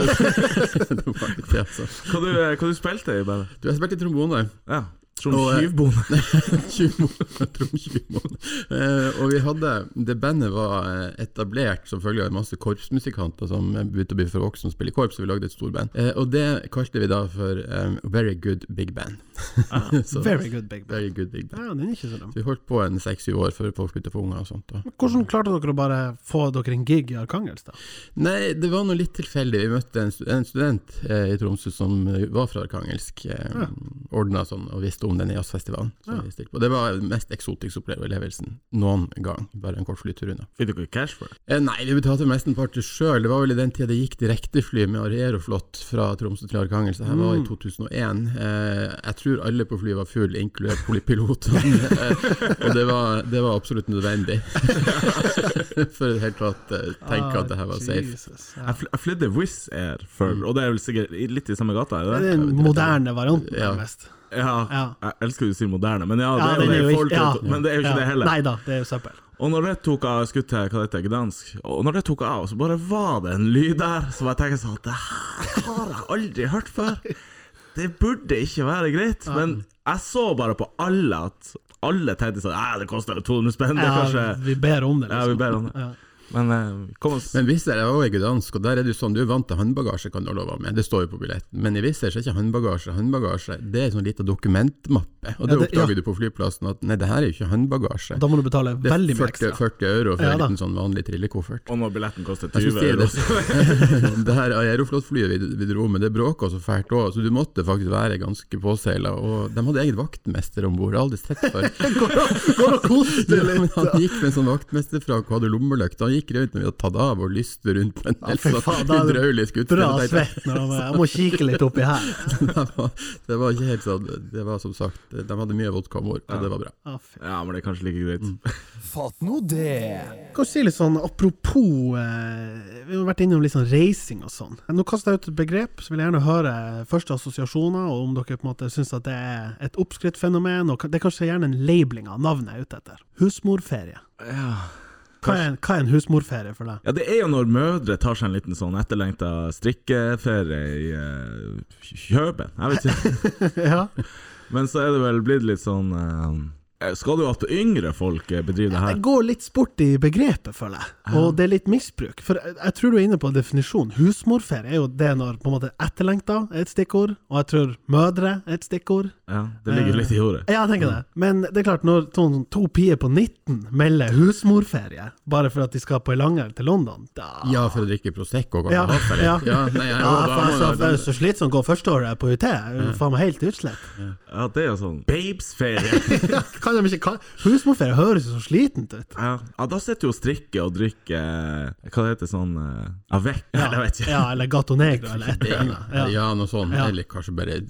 Speaker 4: (laughs) det var ikke det, altså.
Speaker 2: hva, du, hva du spilte i, bare?
Speaker 4: Du, jeg spilte trombone. (laughs)
Speaker 2: Ja,
Speaker 4: Og, eh,
Speaker 2: Tromskyvbonde.
Speaker 4: 20 måneder, Trond 20 måneder. Eh, og vi hadde, det bandet var eh, etablert som følge av masse korpsmusikanter som eh, begynte å bli for voksne og spille korps, og vi lagde et storband. Eh, og det kalte vi da for eh, Very Good Big Band. (laughs) Så,
Speaker 3: Very good, big band.
Speaker 4: very Good Big Band.
Speaker 3: Ja, den er ikke så dum.
Speaker 4: Så vi holdt på en seks-syv år før folk begynte å få unger og sånt. Da.
Speaker 3: Hvordan klarte dere å bare få dere en gig i Arkangels, da?
Speaker 4: Nei, det var noe litt tilfeldig. Vi møtte en, stu- en student eh, i Tromsø som eh, var fra Arkangelsk. Eh,
Speaker 3: Ja.
Speaker 4: Ordna sånn og visste om den jazzfestivalen. som
Speaker 3: Ja.
Speaker 4: vi stilte på. Det var den mest eksotiske opplevelsen noen gang. Bare en kort flytur unna.
Speaker 2: Fikk dere cash for det?
Speaker 4: Eh, Nei, vi betalte mest en party sjøl. Det var vel i den tida det gikk direktefly med Aeroflot fra Tromsø til Arkangel. Så det her var
Speaker 3: Mm.
Speaker 4: i 2001. Eh, jeg tror alle på flyet var full, inkludert poli- pilotene.
Speaker 3: (laughs)
Speaker 4: eh, og det var, det var absolutt nødvendig. (laughs) For i det hele tatt eh,
Speaker 3: Ah,
Speaker 4: tenke at det her var safe.
Speaker 3: Jesus, ja. Mm.
Speaker 2: Jeg fly- jeg flydde Wizz Air før, og det er vel sikkert i- litt i samme gata? Er det?
Speaker 3: Det
Speaker 2: det?
Speaker 3: er den moderne varianten,
Speaker 4: Ja.
Speaker 3: nærmest.
Speaker 2: Ja,
Speaker 3: Ja.
Speaker 2: jeg elsker å si moderne, men ja, det
Speaker 3: Ja,
Speaker 2: er jo
Speaker 3: den
Speaker 2: det
Speaker 3: er jo
Speaker 2: folk
Speaker 3: ikke- ja.
Speaker 2: Men det er jo ikke det heller.
Speaker 3: Nei da, det er jo søppel.
Speaker 2: Og når det tok av skutt til hva det heter, Gdansk, og når det tok av, så bare var det en lyd der som jeg tenkte sånn Det her har jeg aldri hørt før. Det burde ikke være greit. Men jeg så bare på alle at alle tenkte sånn Æ, det koster jo 200 spenn, det er
Speaker 3: Ja,
Speaker 2: kanskje
Speaker 3: vi ber om det, liksom.
Speaker 2: Ja, vi ber om det.
Speaker 3: Ja.
Speaker 2: Men eh, kom oss
Speaker 4: Men Wizz Air er også i Gdansk, og der er det jo sånn, du er vant til håndbagasje, kan du ha lov av med. Det står jo på billetten. Men i Wizz Air så er ikke håndbagasje håndbagasje, det er sånn liten dokumentmappe.
Speaker 3: Ja,
Speaker 4: Og det,
Speaker 3: det-
Speaker 4: oppdager du på flyplassen at nei, det her er jo ikke håndbagasje.
Speaker 3: Da må du betale
Speaker 4: Det er
Speaker 3: veldig mye
Speaker 4: 40,
Speaker 3: ekstra.
Speaker 4: 40 euro for
Speaker 3: Ja
Speaker 4: en
Speaker 3: da.
Speaker 4: liten sånn vanlig trillekoffert.
Speaker 2: Og når billetten koster 20
Speaker 4: Jeg synes det, er
Speaker 2: euro.
Speaker 4: det, (laughs) det her Aeroflot-flyet vi, vi dro med, det bråka så fælt òg, så du måtte faktisk være ganske påseila. Og de hadde eget vaktmester om bord, aldri sett før.
Speaker 3: (laughs) Går og koser
Speaker 4: Ja,
Speaker 3: deg
Speaker 4: men
Speaker 3: litt.
Speaker 4: han gikk med en sånn vaktmesterfrakk og hadde lommelykt. Han gikk rundt når vi hadde tatt av og lyste rundt på en
Speaker 3: Ja,
Speaker 4: del
Speaker 3: fy
Speaker 4: sånn
Speaker 3: faen, da er det
Speaker 4: hydraulisk utstyr.
Speaker 3: Bra
Speaker 4: Jeg tenkte,
Speaker 3: svett når han Jeg må kikke litt oppi her.
Speaker 4: (laughs) det, var, det var ikke helt sånn. Det var som sagt, de hadde mye vodka om bord, og det var bra.
Speaker 3: Å, fy.
Speaker 2: Ja, men det er kanskje like greit.
Speaker 4: Mm.
Speaker 5: Fatt nå det!
Speaker 3: kan jo si litt sånn, Apropos eh, Vi har vært innom litt sånn reising og sånn. Nå kaster jeg ut et begrep, så vil jeg gjerne høre første assosiasjoner, og om dere på en måte syns at det er et oppskrytt fenomen. og ka- Det er kanskje gjerne en labeling av navnet jeg er ute etter. Husmorferie.
Speaker 2: Ja.
Speaker 3: Hva er, en- hva er en husmorferie for deg?
Speaker 2: Ja, det er jo når mødre tar seg en liten sånn etterlengta strikkeferie i uh, Kjøben. Jeg vet ikke.
Speaker 3: ja.
Speaker 2: Men så er det vel blitt litt sånn eh, Skal du at yngre folk eh, bedriver det
Speaker 3: Det
Speaker 2: her?
Speaker 3: går litt sport i begrepet, føler jeg. Og det er litt misbruk. For jeg, jeg tror du er inne på definisjonen. Husmorferie er jo det når på en måte etterlengta er et stikkord, og jeg tror mødre er et stikkord.
Speaker 2: Ja, det ligger litt i ordet.
Speaker 3: Ja, jeg tenker
Speaker 4: Mm.
Speaker 3: det. Men det er klart, når to, to pier på 19 melder husmorferie bare for at de skal på ei langhelg til London, da
Speaker 4: Ja, for å drikke Prosecco. kan
Speaker 3: Ja,
Speaker 4: man ha seg litt.
Speaker 3: ja.
Speaker 4: Ja, nei, jeg,
Speaker 3: Ja,
Speaker 4: da Mm.
Speaker 3: for
Speaker 4: må
Speaker 3: altså,
Speaker 4: jeg-
Speaker 3: for jeg er så slitsom å gå første året på UT. Jeg er jo faen meg helt utslett.
Speaker 2: Ja, det er jo sånn babesferie.
Speaker 3: Kan de ikke ka- Husmorferie høres jo så slitent ut.
Speaker 2: Ja, ja da sitter du og strikker og drikker eh, Hva det heter sånn uh, Avec?
Speaker 3: Ja,
Speaker 2: Eller jeg vet ikke.
Speaker 3: ja, eller Gato Negro, eller
Speaker 4: (laughs)
Speaker 3: et eller annet.
Speaker 4: ja.
Speaker 3: Ja.
Speaker 4: noe sånt.
Speaker 3: Ja.
Speaker 4: Eller kanskje bare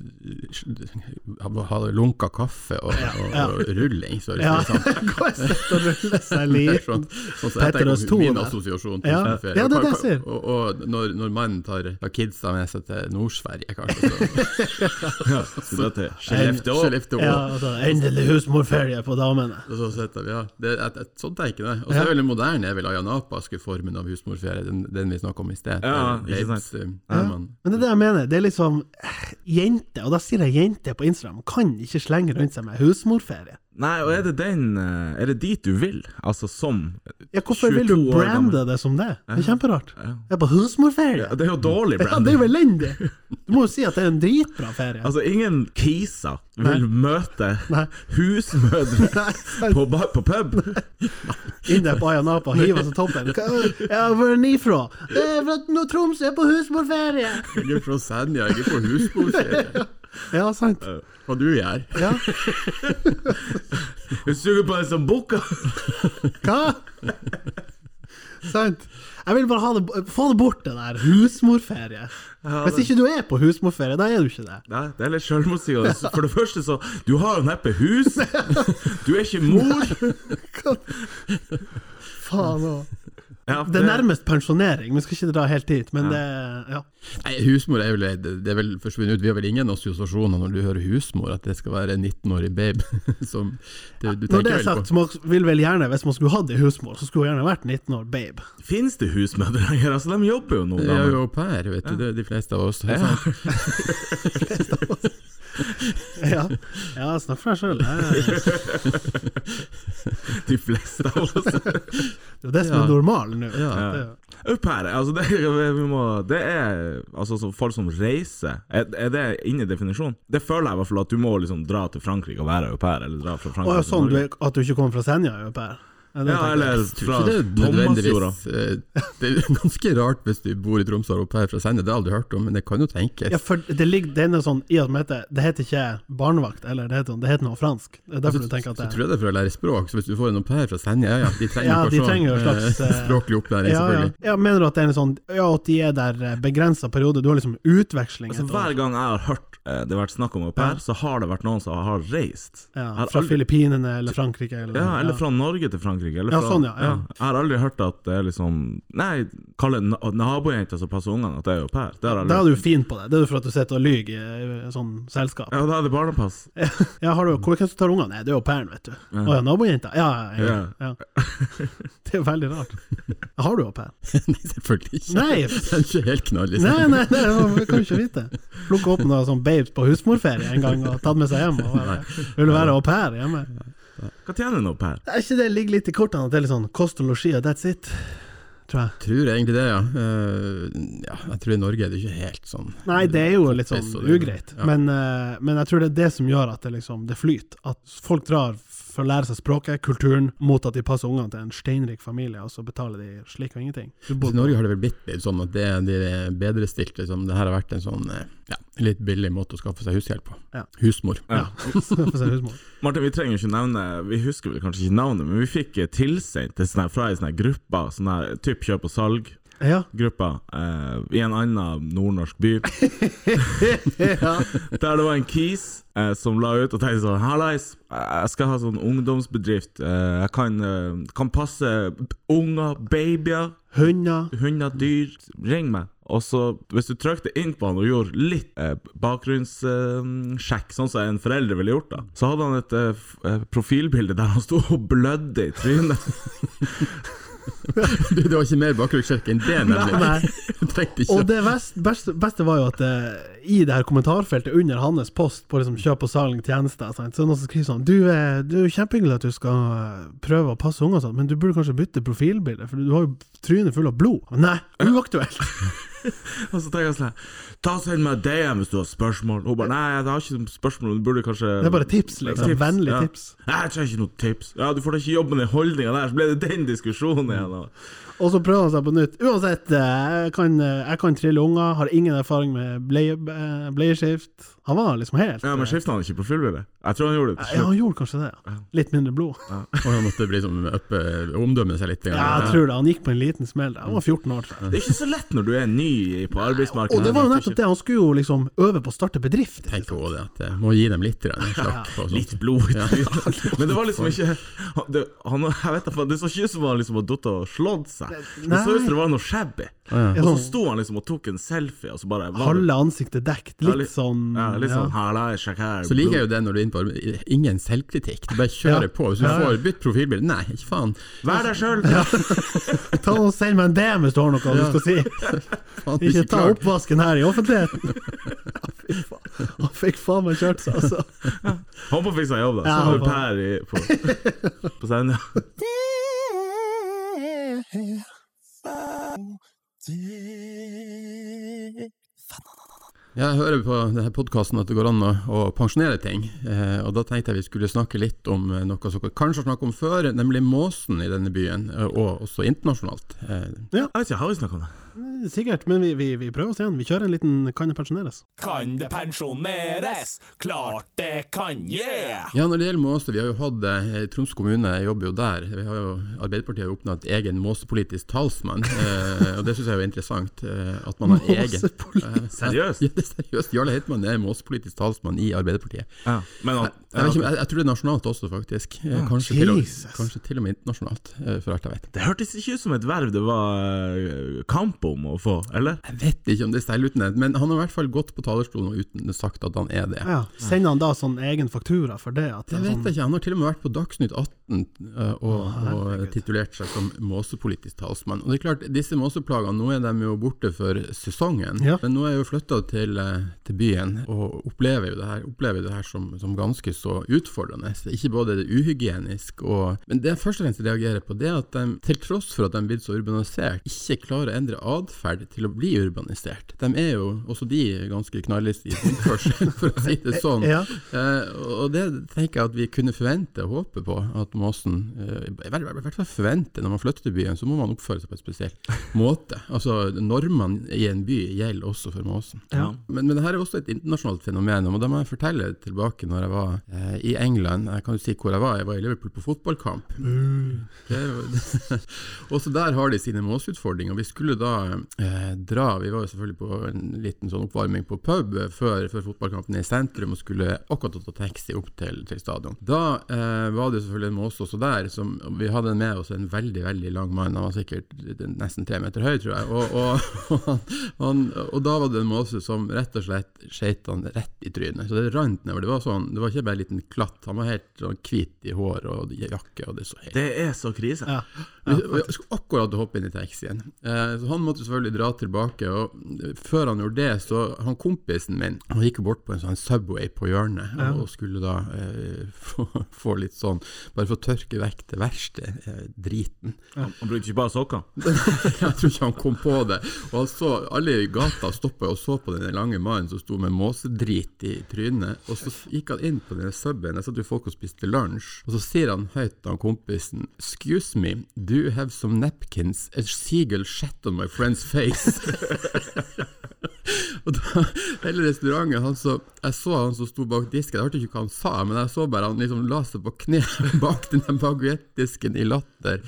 Speaker 4: ha- ha lunka kaffe og, og,
Speaker 3: ja.
Speaker 4: og rulling. Så
Speaker 3: Ja.
Speaker 4: det sånn.
Speaker 3: (laughs) Gå og sett og rulle seg liten.
Speaker 4: Sånn, sånn, så jeg
Speaker 3: Petter
Speaker 4: tenker
Speaker 3: Øst
Speaker 4: på min
Speaker 3: Thor der.
Speaker 4: assosiasjon til
Speaker 3: Ja.
Speaker 4: sommerferie.
Speaker 3: Ja, det er det jeg
Speaker 4: Hva- hva-
Speaker 3: ser.
Speaker 4: Og, og når, når mannen tar, tar kidsa med seg til Nord-Sverige, kanskje. Så,
Speaker 2: Så da til Skellefteå.
Speaker 4: Skellefteå.
Speaker 3: altså. Ja, altså, endelig husmorferie på damene.
Speaker 4: Og så setter vi, ja. Det, jeg, jeg, sånn tenker jeg. Og så er vel det moderne er vel Ayanapaske formen av husmorferie, den, den vi snakka om i sted.
Speaker 2: Ja,
Speaker 4: Der
Speaker 2: ikke sant.
Speaker 4: Leitz, eh,
Speaker 3: Ja.
Speaker 4: Herman.
Speaker 3: Men det er det jeg mener. Det er liksom eh, Jenter, og da sier jeg jenter på Instagram, kan ikke slenge rundt seg med husmorferie.
Speaker 2: Nei, og er det den eh, Er det dit du vil? Altså som
Speaker 3: Ja, hvorfor vil du
Speaker 2: 22 år
Speaker 3: brande
Speaker 2: gammel.
Speaker 3: det som det? Det er kjemperart.
Speaker 2: Ja.
Speaker 3: Jeg er på husmorferie!
Speaker 2: Ja, Det er jo dårlig
Speaker 3: Ja, det
Speaker 2: branding.
Speaker 3: er jo elendig!
Speaker 2: (laughs)
Speaker 3: Du må jo si at det er en dritbra ferie.
Speaker 2: Altså, ingen kiser vil møte
Speaker 3: Nei.
Speaker 2: husmødre
Speaker 3: Nei, sant.
Speaker 2: på, ba- på pub.
Speaker 3: Inn der på Ayia Napa og hiver seg toppen. Hva- Ja, hvor er den ifra? Det er fra nå Tromsø er på husmorferie!
Speaker 4: Jeg er fra Senja, jeg er på husmorferie.
Speaker 3: Ja, sant.
Speaker 4: Hva du gjør?
Speaker 3: Ja.
Speaker 2: Hun suger på en sånn som bukker.
Speaker 3: Hva? Sant. Jeg vil bare ha det, få det bort, det der. Husmorferie. Hvis ikke du er på husmorferie, da er du ikke det.
Speaker 2: Nei, det er litt selvmotsigende. Så For det første, så Du har jo neppe hus. Du er ikke mor.
Speaker 3: Faen òg.
Speaker 2: Ja,
Speaker 3: Det er nærmest pensjonering, vi skal ikke dra helt dit, men det Ja.
Speaker 4: Nei, husmor er vel, det det er vel forsvunnet ut. Vi har vel ingen assosiasjoner når du hører husmor, at det skal være en 19-årig babe (laughs) som du, du
Speaker 3: Når det
Speaker 4: tenker
Speaker 3: er
Speaker 4: vel
Speaker 3: sagt,
Speaker 4: på.
Speaker 3: så man vil vel gjerne, hvis man skulle hatt ei husmor, så skulle hun gjerne vært 19 år babe.
Speaker 2: Fins det husmødre lenger? Altså, de jobber jo nå.
Speaker 4: Vi
Speaker 2: da,
Speaker 4: er
Speaker 2: men-
Speaker 4: jo au pair, vet du. Det er de fleste av oss.
Speaker 2: Ja.
Speaker 3: Ja, ja snakk for deg sjøl. Det er
Speaker 2: De fleste av oss.
Speaker 3: det er det som
Speaker 4: Ja.
Speaker 3: er normalen nå.
Speaker 4: Ja.
Speaker 3: Det er-
Speaker 2: Au pair, altså, det, vi må, det er altså så folk som reiser. Er, er det inne i definisjonen? Det føler jeg i hvert fall at du må liksom dra til Frankrike og være au pair, eller dra fra
Speaker 3: Å
Speaker 2: Frankrike
Speaker 3: ja,
Speaker 2: til
Speaker 3: sånn du
Speaker 2: Norge.
Speaker 3: er, at du ikke kommer fra Senja, er jo Per. Ja, det
Speaker 2: Ja,
Speaker 3: tenker jeg.
Speaker 2: eller
Speaker 4: Jeg tror
Speaker 2: fra
Speaker 4: ikke det er
Speaker 2: Thomasjorda.
Speaker 4: nødvendigvis eh, Det er jo ganske rart hvis du bor i Tromsø og er au pair fra Senja, det har jeg aldri hørt om, men det kan jo tenkes.
Speaker 3: ja, for det ligger det er noe sånn i at det heter, det heter ikke barnevakt, eller det heter, det heter noe fransk. Det er derfor du tenker at
Speaker 4: Altså, Så
Speaker 3: det
Speaker 4: tror jeg det er for å lære språk, så hvis du får en au pair fra Senja, ja, de trenger
Speaker 3: Ja, de
Speaker 4: kanskje
Speaker 3: trenger jo
Speaker 4: (laughs) også,
Speaker 3: slags,
Speaker 4: eh,
Speaker 3: eh,
Speaker 4: språklig
Speaker 3: ja,
Speaker 4: opplæring,
Speaker 3: ja.
Speaker 4: selvfølgelig. (laughs)
Speaker 3: ja, Mener du at det er en sånn Ja, at de er der begrensa periode? Du har liksom utveksling
Speaker 2: Altså,
Speaker 3: et år.
Speaker 2: hver gang jeg har hørt eh, det har vært snakk om au pair, så har det vært noen som har reist. Jeg
Speaker 3: Ja,
Speaker 2: har
Speaker 3: fra
Speaker 2: aldri-
Speaker 3: Filippinene eller Frankrike eller
Speaker 2: Ja, eller fra Norge til Frankrike. Eller
Speaker 3: Ja,
Speaker 2: fra,
Speaker 3: sånn, ja, ja.
Speaker 2: Jeg har aldri hørt at det er liksom Nei, kalle na- nabojenta som passer ungene, at det er au pair. Det har jeg
Speaker 3: Da er
Speaker 2: aldri
Speaker 3: du fin på det. Det er jo for at du sitter og lyver i eh, sånn selskap.
Speaker 2: Ja, da er det barnepass.
Speaker 3: Ja, har du, hvor hvem som tar ungene? Nei, det er au pairen, vet du. Å ja, nabojenta? Ja, ja, ja. (laughs) ja. Det er veldig rart. Har du au (laughs) pair?
Speaker 4: Nei, selvfølgelig ikke.
Speaker 3: Nei.
Speaker 4: Det er ikke helt knall i
Speaker 3: Nei,
Speaker 4: Senja.
Speaker 3: nei, nei, vi kan jo ikke vite. Plukka opp noen sånn babes på husmorferie en gang og tatt med seg hjem. Og bare, vil du være au pair hjemme?
Speaker 2: Hva tjener en au pair?
Speaker 3: Er ikke det ligger litt i kortene at det er litt sånn kost og losji og that's it? tror jeg.
Speaker 4: Tror jeg egentlig det, ja. Eh, ja. Jeg tror i Norge er det ikke helt sånn.
Speaker 3: Nei, det er jo litt sånn
Speaker 4: Toppis og det-
Speaker 3: ugreit,
Speaker 4: ja.
Speaker 3: men, eh, men jeg tror det er det som gjør at det liksom det flyter. At folk drar for å lære seg språket, kulturen, mot at de passer ungene til en steinrik familie, og så betaler de slik og ingenting. Du bor
Speaker 4: I Norge har det vel blitt litt sånn at det er de bedrestilte som Det her har vært en sånn eh, ja, litt billig måte å skaffe seg hushjelp på.
Speaker 3: Ja.
Speaker 4: Husmor.
Speaker 3: Ja. (laughs) for seg husmor.
Speaker 2: Martin, vi trenger jo ikke nevne Vi husker vel kanskje ikke navnet, men vi fikk eh, tilsendt det sånn her fra ei sånn her gruppe, sånn her typ kjøp og salg-gruppa,
Speaker 3: Ja.
Speaker 2: eh, i en annen nordnorsk by, der det var en kis eh, som la ut og tenkte sånn Hallais, jeg skal ha sånn ungdomsbedrift. Eh, jeg kan, eh, kan passe unger, babyer.
Speaker 3: Hunder.
Speaker 2: hunder, dyr, ring meg. Og så, hvis du trykte inn på han og gjorde litt eh, bakgrunnssjekk, sånn som en forelder ville gjort, da, så hadde han et eh, f- eh, profilbilde der han sto og blødde i trynet.
Speaker 4: Du, (laughs) det var ikke mer bakgrunnssjekk enn det, nemlig. (laughs)
Speaker 3: Nei.
Speaker 4: Du trengte ikke
Speaker 3: Og det vest, beste, beste var jo at eh, i det her kommentarfeltet under hans post på liksom kjøp og salg tjenester, sant, så er det noen som skriver sånn Du eh, det er jo kjempehyggelig at du skal eh, prøve å passe unger, og sånn, men du burde kanskje bytte profilbilde, for du har jo trynet fullt av blod. Nei, uaktuelt!
Speaker 2: Og så tenker jeg sånn her, Ta og send meg en DM hvis du har spørsmål. Hun bare Nei, jeg har ikke noe spørsmål, du burde kanskje
Speaker 3: Det er bare tips, liksom. Vennlig
Speaker 2: ja.
Speaker 3: tips.
Speaker 2: Nei, jeg trenger ikke noe tips. Ja, Du får da ikke jobbe med den holdninga der, så ble det den diskusjonen igjen. da.
Speaker 3: Og så prøver han seg på nytt. Uansett, eh, jeg kan, eh, jeg kan trille unger, har ingen erfaring med bleie, eh, bleieskift. Han var liksom helt
Speaker 2: Ja, Men skifta han ikke profilbilde? Jeg tror han gjorde det. til
Speaker 3: Ja,
Speaker 2: slutt.
Speaker 3: han gjorde kanskje det. ja. Litt mindre blod.
Speaker 4: Og han måtte bli som oppe, omdømme seg litt.
Speaker 3: Ja, jeg tror det. Han gikk på en liten smell. Han var 14 år.
Speaker 2: Det er ikke så lett når du er ny i- på arbeidsmarkedet.
Speaker 3: Og det var jo
Speaker 2: Jeg vet
Speaker 3: nettopp
Speaker 2: ikke.
Speaker 3: det, han skulle jo liksom øve på å starte bedrift.
Speaker 4: Tenk på det, at jeg må gi dem litt grann, sånn.» slakk på sånt.
Speaker 2: Litt blod i trynet. Men det var liksom ikke han- det, han, jeg vet, da faen, det så ikke ut som han liksom hadde datt og slått seg. Det så ut som det var noe shabby.
Speaker 4: Ja.
Speaker 2: Og så sto han liksom og tok en selfie, og så bare var det-
Speaker 3: sånn Halve ansiktet dekt,
Speaker 2: Ja,
Speaker 3: litt sånn
Speaker 2: Ja, litt sånn Halla, sjekk her.
Speaker 4: Så liker jeg jo det når du er inne på arbeid. Ingen selvkritikk, du bare kjører
Speaker 3: Ja.
Speaker 4: på. Hvis du
Speaker 3: Ja, ja.
Speaker 4: får bytt profilbilde, nei, ikke faen.
Speaker 2: Vær deg sjøl! (laughs)
Speaker 3: ja. Ta og Send meg en DM hvis du har noe du skal si!
Speaker 4: faen du er
Speaker 3: Ikke ta
Speaker 4: klar.
Speaker 3: oppvasken her i offentligheten! (laughs) Ja, Fy faen. Han fikk faen meg kjørt seg, altså.
Speaker 2: Han får fiksa jobb, da.
Speaker 3: Ja,
Speaker 2: Så har
Speaker 3: han
Speaker 2: du
Speaker 3: får-
Speaker 2: Per i, på,
Speaker 4: (laughs)
Speaker 2: på scenen.
Speaker 5: Det er- det
Speaker 4: Ja, Jeg hører på denne podkasten at det går an å, å pensjonere ting, eh, og da tenkte jeg vi skulle snakke litt om eh, noe som vi kanskje har snakket om før, nemlig måsen i denne byen, eh, og også internasjonalt. Eh,
Speaker 2: Jeg vet ikke, har vi snakka om det?
Speaker 3: Sikkert, men vi, vi, vi prøver oss igjen. Vi kjører en liten Kan det pensjoneres?
Speaker 5: Kan det pensjoneres? Klart det kan, yeah!
Speaker 4: Ja, når det gjelder måse, vi har jo hatt eh, Troms kommune jeg jobber jo der. Vi har jo, Arbeiderpartiet har jo oppnådd egen måsepolitisk talsmann, eh, og det syns jeg er jo interessant. Eh, at man har egen
Speaker 3: Måsepolitisk-
Speaker 4: Eh,
Speaker 2: Seriøst?
Speaker 4: Ja, det er seriøst. Jarle Heitmann er måsepolitisk talsmann i Arbeiderpartiet.
Speaker 2: Ja. Men han,
Speaker 4: Jeg, vet ikke, jeg, jeg tror det er nasjonalt også, faktisk. Eh, kanskje, til og,
Speaker 3: Jesus.
Speaker 4: kanskje til og med internasjonalt, eh, for alt jeg vet.
Speaker 2: det hørtes ikke ut som et verv det var eh, kamp om å få, eller?
Speaker 4: Jeg vet ikke om det er selvutnevnt, men han har i hvert fall gått på talerstolen og uten sagt at han er det.
Speaker 3: Ja. Sender han da sånn egen faktura for det? At
Speaker 4: Det
Speaker 3: det er
Speaker 4: vet
Speaker 3: sånn,
Speaker 4: jeg ikke. Han har til og med vært på Dagsnytt 18 eh, og, og
Speaker 3: herregud.
Speaker 4: titulert seg som måsepolitisk talsmann. Og det er klart, disse måseplagene, nå er de jo borte for sesongen,
Speaker 3: Ja.
Speaker 4: men nå er jeg jo flytta til, eh, til byen og opplever jo det her, opplever det her som, som ganske så utfordrende. Så Ikke både det uhygienisk og Men det jeg først og fremst reagerer på, det er at de, til tross for at de er blitt så urbanisert, ikke klarer å endre atferd til å bli urbanisert. De er jo, også de, ganske knallhøye i sin oppførsel, (laughs) for å si
Speaker 3: eh,
Speaker 4: det sånn.
Speaker 3: Ja.
Speaker 4: Eh, og det tenker jeg at vi kunne forvente og håpe på, at måsen eh, I hvert fall- i hvert fall forvente, når man flytter til byen, så må man oppføre seg på et
Speaker 3: (laughs)
Speaker 4: spesiell måte. Altså, normene i en by gjelder også for måsen.
Speaker 3: Ja.
Speaker 4: Men, men det her er også et internasjonalt fenomen, og da må jeg fortelle tilbake når jeg var eh, i England. Jeg kan jo si hvor jeg var, jeg var i Liverpool på fotballkamp. Det er jo- (laughs) Også der har de sine måseutfordringer. Vi skulle da eh, dra Vi var jo selvfølgelig på en liten sånn oppvarming på pub eh, før, før fotballkampen i sentrum, og skulle akkurat ta taxi opp til, til stadion. Da eh, var det selvfølgelig en måse også der. Som, vi hadde med oss en veldig veldig lang mann, han var sikkert eh, nesten tre meter høy, tror jeg. Og, (laughs) og, og, han, og da var det en måse som rett og slett skjøt han rett i trynet. Så det rant nedover. Det var sånn, det var ikke bare en liten klatt, han var helt sånn hvit i hår og jakke, og det så helt
Speaker 2: Det er så krise.
Speaker 3: Ja.
Speaker 4: Vi vi skulle akkurat hoppe inn i taxien. Eh, Så han måtte selvfølgelig dra tilbake. Og før han gjorde det, så han kompisen min han gikk jo bort på en sånn Subway på hjørnet og skulle da eh, (laughs) få, få litt sånn Bare få tørke vekk det verste eh, driten.
Speaker 2: Han brukte ikke bare sokker.
Speaker 4: (laughs) Jeg tror ikke han kom på det. Og han så, alle i gata stoppa og så på den lange mannen som sto med måsedrit i trynet. Og så gikk han inn på den subben, der satt jo folk og spiste lunsj. Og så sier han høyt til han kompisen Excuse me, do you have some napkins? A seagull shat on my friend's face. (laughs) Og da, hele restauranten han så, Jeg så han som sto bak disken, jeg hørte ikke hva han sa, men jeg så bare han liksom la seg på kne (laughs) bak den der baguettdisken i latter.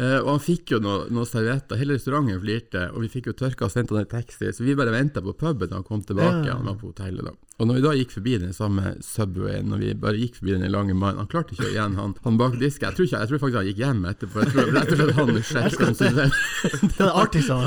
Speaker 4: Eh, og han fikk jo noen noe servietter, hele restauranten flirte, og vi fikk jo tørka og sendt han en taxi, så vi bare venta på puben da han kom tilbake.
Speaker 3: Ja.
Speaker 4: Han var på hotellet da. Og når vi da gikk forbi den samme Subwayen, når vi bare gikk forbi den lange mannen Han klarte ikke å igjen, han, han bak disken. Jeg tror, ikke, jeg tror faktisk han gikk hjem etterpå. Jeg tror rett og slett han sjekka seg selv.
Speaker 3: Det er det artigste (laughs) jeg har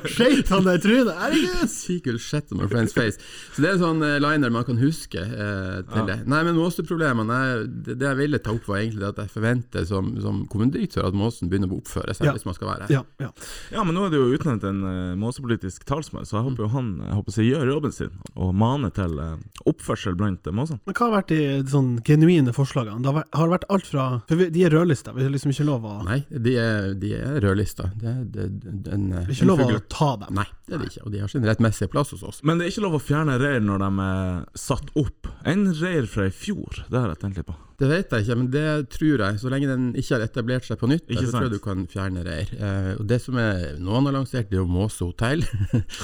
Speaker 3: hørt. Skøyt han der trynet! Herregud!
Speaker 4: Sequel shit on my friend's face. Så det er en sånn eh, liner man kan huske eh, til det. Nei, men Måseproblemene er- det, det jeg ville ta opp, var egentlig det at jeg forventer som, som kommunedirektør at Måsen begynner å oppføre seg
Speaker 3: Ja.
Speaker 4: hvis man skal være her.
Speaker 3: Ja, ja.
Speaker 2: Ja, men nå er det jo utnevnt en eh, måsepolitisk talsmann, så jeg håper jo han eh, jeg håper seg gjør jobben sin og maner til eh, oppførsel blant eh, måsene.
Speaker 3: Men hva har vært de sånn genuine forslagene? Det har vært- har vært alt fra For vi- de er rødlista, vi har liksom ikke lov å
Speaker 4: Nei, de er, de er rødlista. Det er det, det- en, eh,
Speaker 3: vi har
Speaker 4: en
Speaker 3: ikke lov å
Speaker 4: fugl.
Speaker 3: ta dem.
Speaker 4: Nei, det er det ikke. Og de har sin rettmessige plass hos oss.
Speaker 2: Men det er ikke lov å fjerne reir når de er satt opp. En reir fra i fjor, det har jeg tenkt litt på.
Speaker 4: Det vet jeg ikke, men det tror jeg. Så lenge den ikke har etablert seg på nytt,
Speaker 2: Ikke
Speaker 4: så tror
Speaker 2: sant.
Speaker 4: jeg du kan fjerne reir. Eh, og det som er, noen har lansert, det er jo Måse (laughs) hotell.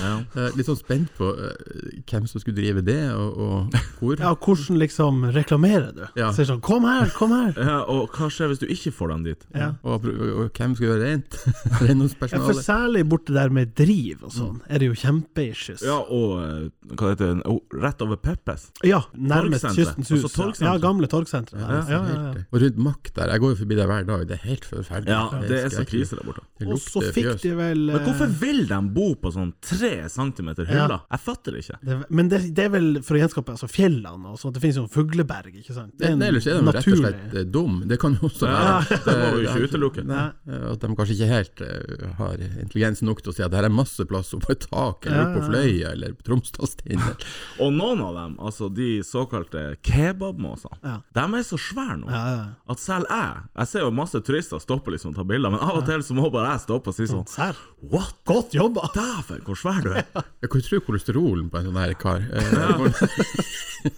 Speaker 2: Ja.
Speaker 4: Eh, litt sånn spent på eh, hvem som skulle drive det, og,
Speaker 3: (laughs)
Speaker 4: og hvor.
Speaker 3: Ja, og hvordan liksom reklamerer du?
Speaker 4: Ja.
Speaker 3: Sier sånn 'kom her, kom her'.
Speaker 2: Ja, og hva skjer hvis du ikke får dem dit?
Speaker 3: Ja.
Speaker 4: Og, og, og hvem skal gjøre rent? (laughs)
Speaker 3: Ja, for
Speaker 4: Renholdspersonalet.
Speaker 3: særlig borte der med driv og sånn,
Speaker 4: Mm.
Speaker 3: er det jo kjempeissues.
Speaker 2: Ja, og eh, hva heter det, oh, rett over Peppes.
Speaker 3: Ja, nærmest
Speaker 2: Torgsenteret.
Speaker 3: Kystens Hus.
Speaker 2: Altså torgsenteret.
Speaker 3: ja, gamle torgsenteret. der, altså.
Speaker 4: Ja, helt det. Og rundt Mack der, jeg går jo forbi der hver dag, det er helt forferdelig.
Speaker 2: Ja, det er så
Speaker 4: skrekkelig.
Speaker 2: krise der borte.
Speaker 4: Det
Speaker 3: Og så
Speaker 4: lukter
Speaker 3: fikk
Speaker 4: fjøs.
Speaker 3: de vel
Speaker 2: Men hvorfor
Speaker 3: eh,
Speaker 2: vil de bo på sånn tre centimeter hyller? Jeg fatter det ikke.
Speaker 3: det, Men det, det er vel for å gjenskape altså, fjellene og sånn, det finnes jo en fugleberg, ikke sant? en
Speaker 4: Men Ellers er de rett og
Speaker 3: naturlig-
Speaker 4: slett eh, dum, det kan jo også være.
Speaker 2: Ja, (laughs) det må vi jo ikke utelukke.
Speaker 4: Nei, At de kanskje ikke helt eh, har intelligens nok til å si at her er masse plass oppe på et tak, eller oppe på Fløya, eller på
Speaker 3: (laughs)
Speaker 4: Tromsdalstind.
Speaker 2: Og noen av dem, altså de såkalte kebabmåsene,
Speaker 3: Ja.
Speaker 2: de er så svære nå.
Speaker 3: Ja, ja.
Speaker 2: At selv jeg Jeg ser jo masse turister stoppe liksom og ta bilder, men av og til så må bare jeg stoppe og si sånn
Speaker 3: Serr.
Speaker 2: What?
Speaker 3: Godt jobba!
Speaker 2: Dæven, hvor svær du er!
Speaker 4: Jeg kan tro kolesterolen på en sånn her kar. Eh,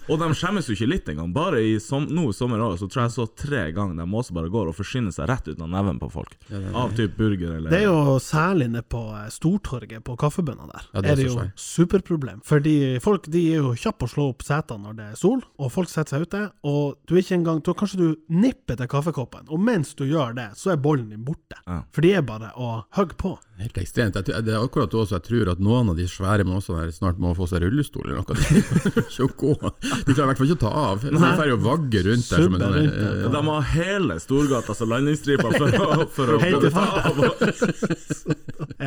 Speaker 2: Og de skjemmes jo ikke litt engang. Bare i som, nå i sommer også, så tror jeg jeg så tre ganger de også bare går og forsyner seg rett ut av neven på folk. Av type burger eller
Speaker 3: Det er jo særlig nede på eh, Stortorget, på Kaffebønna der.
Speaker 4: Ja, det
Speaker 3: det
Speaker 4: er
Speaker 3: er det
Speaker 4: så
Speaker 3: jo
Speaker 4: svært.
Speaker 3: superproblem. Fordi folk de er jo kjappe å slå opp setene når det er sol, og folk setter seg ute. Og du er ikke engang da Kanskje du nipper til kaffekoppen, og mens du gjør det, så er bollen din borte.
Speaker 2: Ja.
Speaker 3: For de er bare å hogge på.
Speaker 4: Helt ekstremt. Jeg, tror- det er akkurat også jeg tror at noen av de svære måsene her snart må få seg rullestol eller noe. (laughs) De klarer ikke å gå. De klarer i hvert fall ikke å ta av. De
Speaker 3: Nei.
Speaker 4: får jo vagge rundt der som
Speaker 3: Subbe
Speaker 4: en sånn
Speaker 3: rundt der.
Speaker 4: eh,
Speaker 2: De har hele Storgata som landingsstripa for å,
Speaker 3: (laughs)
Speaker 2: for å
Speaker 3: Helt i
Speaker 2: kunne ta av.
Speaker 3: (laughs)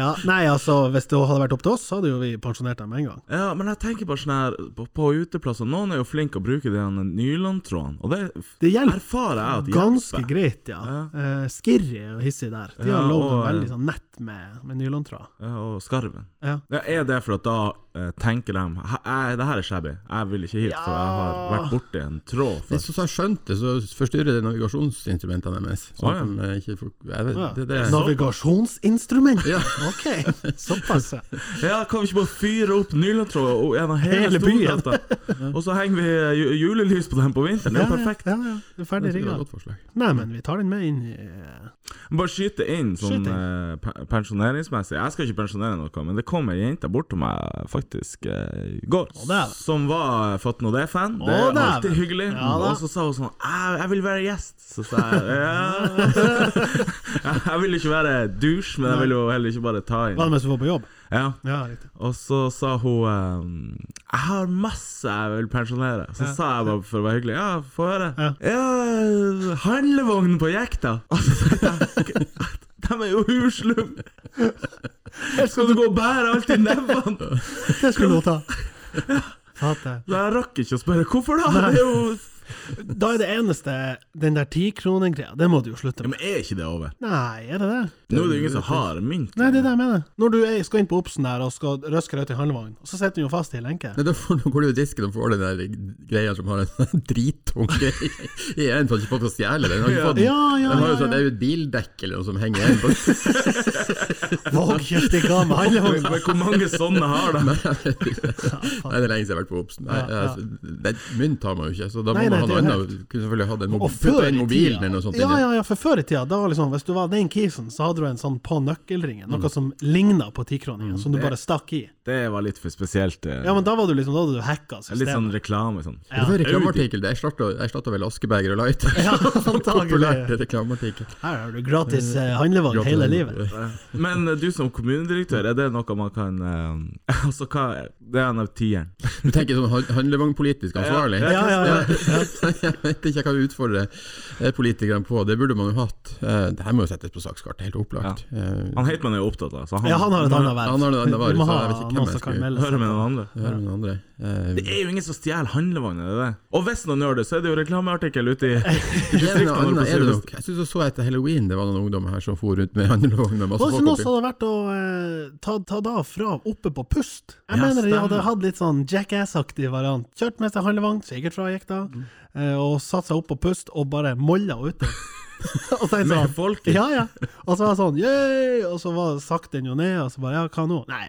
Speaker 3: Ja, nei, altså, hvis det hadde vært opp til oss, så hadde jo vi pensjonert dem med en gang.
Speaker 2: Ja, men jeg tenker bare sånn her på, på uteplasser Noen er jo flinke å bruke den nylontråden, og det,
Speaker 3: Det hjelper.
Speaker 2: erfarer jeg at det
Speaker 3: Ganske
Speaker 2: hjelper.
Speaker 3: greit, ja. Eh, Skirri og hissig der. De har
Speaker 2: Ja,
Speaker 3: lagd
Speaker 2: og, eh,
Speaker 3: veldig sånn nett med, med nylontråd.
Speaker 2: Ja, og skarven.
Speaker 3: Ja.
Speaker 2: Ja, er det for at da eh, tenker de "Hæ, jeg- Det her er shabby, jeg vil ikke hit, for jeg har vært borti en tråd
Speaker 4: Hvis
Speaker 2: før.
Speaker 4: du har skjønt det, så forstyrrer det navigasjonsinstrumentene deres. Sånn
Speaker 2: Å, ja.
Speaker 4: at de ikke får, jeg vet,
Speaker 3: Ja.
Speaker 4: det, det,
Speaker 3: Navigasjonsinstrument! (laughs) Ok, såpass. ja.
Speaker 2: Ja, kan vi ikke bare fyre opp nylontråd gjennom hele,
Speaker 3: Hele byen.
Speaker 2: Storgata? Og så henger vi eh, ju- julelys på (laughs) den på vinteren, det er jo perfekt.
Speaker 3: Ja, ja, det er ferdig
Speaker 4: det er
Speaker 3: rigga.
Speaker 4: et godt forslag.
Speaker 3: Nei, men vi tar den med inn i eh,
Speaker 2: Bare skyte inn sånn
Speaker 3: Skyt inn.
Speaker 2: eh, pe- pensjoneringsmessig. Jeg skal ikke pensjonere noe, men det kom ei jente bort til meg faktisk eh, i går
Speaker 3: dæven.
Speaker 2: som var eh, Fatt nå det-fan. Det
Speaker 3: Å,
Speaker 2: er
Speaker 3: dæven.
Speaker 2: alltid hyggelig.
Speaker 3: Ja, da.
Speaker 2: og så sa hun sånn Jeg, jeg vil være gjest. Så sa jeg ja.
Speaker 3: (laughs)
Speaker 2: (laughs) Jeg vil ikke være douche, men jeg vil jo heller ikke bare ta
Speaker 3: Hva er
Speaker 2: inn.
Speaker 3: det mens du var på jobb?
Speaker 2: Ja.
Speaker 3: Ja, riktig.
Speaker 2: Og så sa hun ehm, Jeg har masse jeg vil pensjonere. Så sa jeg bare for å være hyggelig Ja, få høre. Ja, handlevognen på jekta! (laughs) Og så tenkte jeg De er jo huslum! Skal du gå og bære alt i nevene? (laughs)
Speaker 3: Det skulle hun ta. Fatter.
Speaker 2: Så jeg rakk ikke å spørre hvorfor da. Det er jo
Speaker 3: Da er det eneste den der tikronegreia. Det må du jo slutte
Speaker 2: Ja,
Speaker 3: med.
Speaker 2: men er ikke det over?
Speaker 3: Nei, er det det?
Speaker 2: Nå er det jo ingen som har mynt.
Speaker 3: Nei, det er det jeg mener. Når du er, skal inn på Obsen der og skal røske deg ut i handlevogn, og så sitter du jo fast i en lenke.
Speaker 4: Nei, da får da går du i disken og får den der greia som har en (laughs) dritunge i i en for at du ikke får å stjele den. Har ikke fått den.
Speaker 3: Ja, ja,
Speaker 4: De har jo
Speaker 3: ja,
Speaker 4: sånn, det er jo et bildekk eller noe som henger igjen. på-
Speaker 3: Våg kjøpte ikke (laughs) av meg handlevogn!
Speaker 2: Men hvor mange sånne har
Speaker 4: (laughs)
Speaker 2: de?
Speaker 4: Nei, det er lenge siden jeg har vært på Obsen. Nei,
Speaker 3: Ja, ja.
Speaker 4: altså, det- Mynt har man jo ikke, så da må
Speaker 3: Nei,
Speaker 4: man
Speaker 3: nei,
Speaker 4: ha noe
Speaker 3: det er jo
Speaker 4: annet. Du Kunne selvfølgelig hatt en
Speaker 3: Og
Speaker 4: mobil,
Speaker 3: før
Speaker 4: putta
Speaker 3: i
Speaker 4: inn mobilen
Speaker 3: tida-
Speaker 4: eller noe sånt.
Speaker 3: Ja,
Speaker 4: inni.
Speaker 3: ja, ja, for før i tida, da var liksom, hvis du var den kisen, så hadde du en sånn på nøkkelringen, noe
Speaker 4: Mm.
Speaker 3: som ligna på tikroningen, som du bare stakk i.
Speaker 2: Det var litt for spesielt. eh.
Speaker 3: Ja, men da var du liksom, da hadde du hacka
Speaker 2: Litt sånn
Speaker 3: systemet.
Speaker 2: reklame sånn.
Speaker 4: Det var en reklameartikkel. det. Jeg starta- Jeg starta vel Askebeger og
Speaker 3: (laughs)
Speaker 4: Light. (laughs)
Speaker 3: Ja,
Speaker 4: Populært
Speaker 3: antagelig.
Speaker 4: reklameartikkel.
Speaker 3: Her har du gratis eh, handlevogn
Speaker 4: sånn- Mm. Gratis
Speaker 3: hele
Speaker 4: handlevogn.
Speaker 3: livet.
Speaker 2: (laughs) Men eh, du som kommunedirektør, er det noe man kan eh, (laughs) Altså, hva er Det er en av tieren.
Speaker 4: Du tenker sånn han- handlevognpolitisk ansvarlig?
Speaker 2: Ja,
Speaker 3: Ja, ja, ja.
Speaker 4: (laughs) Jeg vet ikke hva jeg utfordrer eh, politikerne på, det burde man jo hatt. Eh, Det her må jo settes på sakskartet, helt opplagt. Eh,
Speaker 2: Han Heitmann er jo opptatt av så han,
Speaker 3: Ja, han har et annet verv.
Speaker 4: Han har et annet
Speaker 3: Vi- vi
Speaker 4: verv,
Speaker 3: må
Speaker 4: så
Speaker 3: ha
Speaker 4: jeg vet ikke hvem
Speaker 3: noen
Speaker 4: jeg
Speaker 3: som kan
Speaker 4: skulle-
Speaker 3: melde
Speaker 2: hører med noen
Speaker 3: seg.
Speaker 2: andre.
Speaker 4: Hør med andre. Eh,
Speaker 2: Det er jo ingen som stjeler handlevogn, er det det? Og hvis noen gjør det, så er det jo reklameartikkel ute
Speaker 3: (laughs)
Speaker 2: i
Speaker 4: er det
Speaker 2: distriktene.
Speaker 4: noe
Speaker 2: når
Speaker 4: annet?
Speaker 2: det
Speaker 4: Er det
Speaker 2: kommer
Speaker 4: nok? Jeg syns jeg så etter halloween det var noen ungdommer her som for rundt med handlevogn med masse
Speaker 3: Hva
Speaker 4: folk
Speaker 3: som også
Speaker 4: oppi.
Speaker 3: hadde vært å eh, ta, ta da fra oppe på pust? Jeg
Speaker 2: Ja,
Speaker 3: mener de hadde
Speaker 2: stemmer.
Speaker 3: hatt litt sånn Jackass-aktig variant. Kjørt med seg handlevogn, sikkert fra jekta, eh, og satt seg opp på pust og bare molla ute. (laughs) og så er det
Speaker 2: Med
Speaker 3: sånn,
Speaker 2: folket?
Speaker 3: ja, ja. Og så var det sånn yeah! Og så var sakte den jo ned, og så bare ja, hva nå? Nei,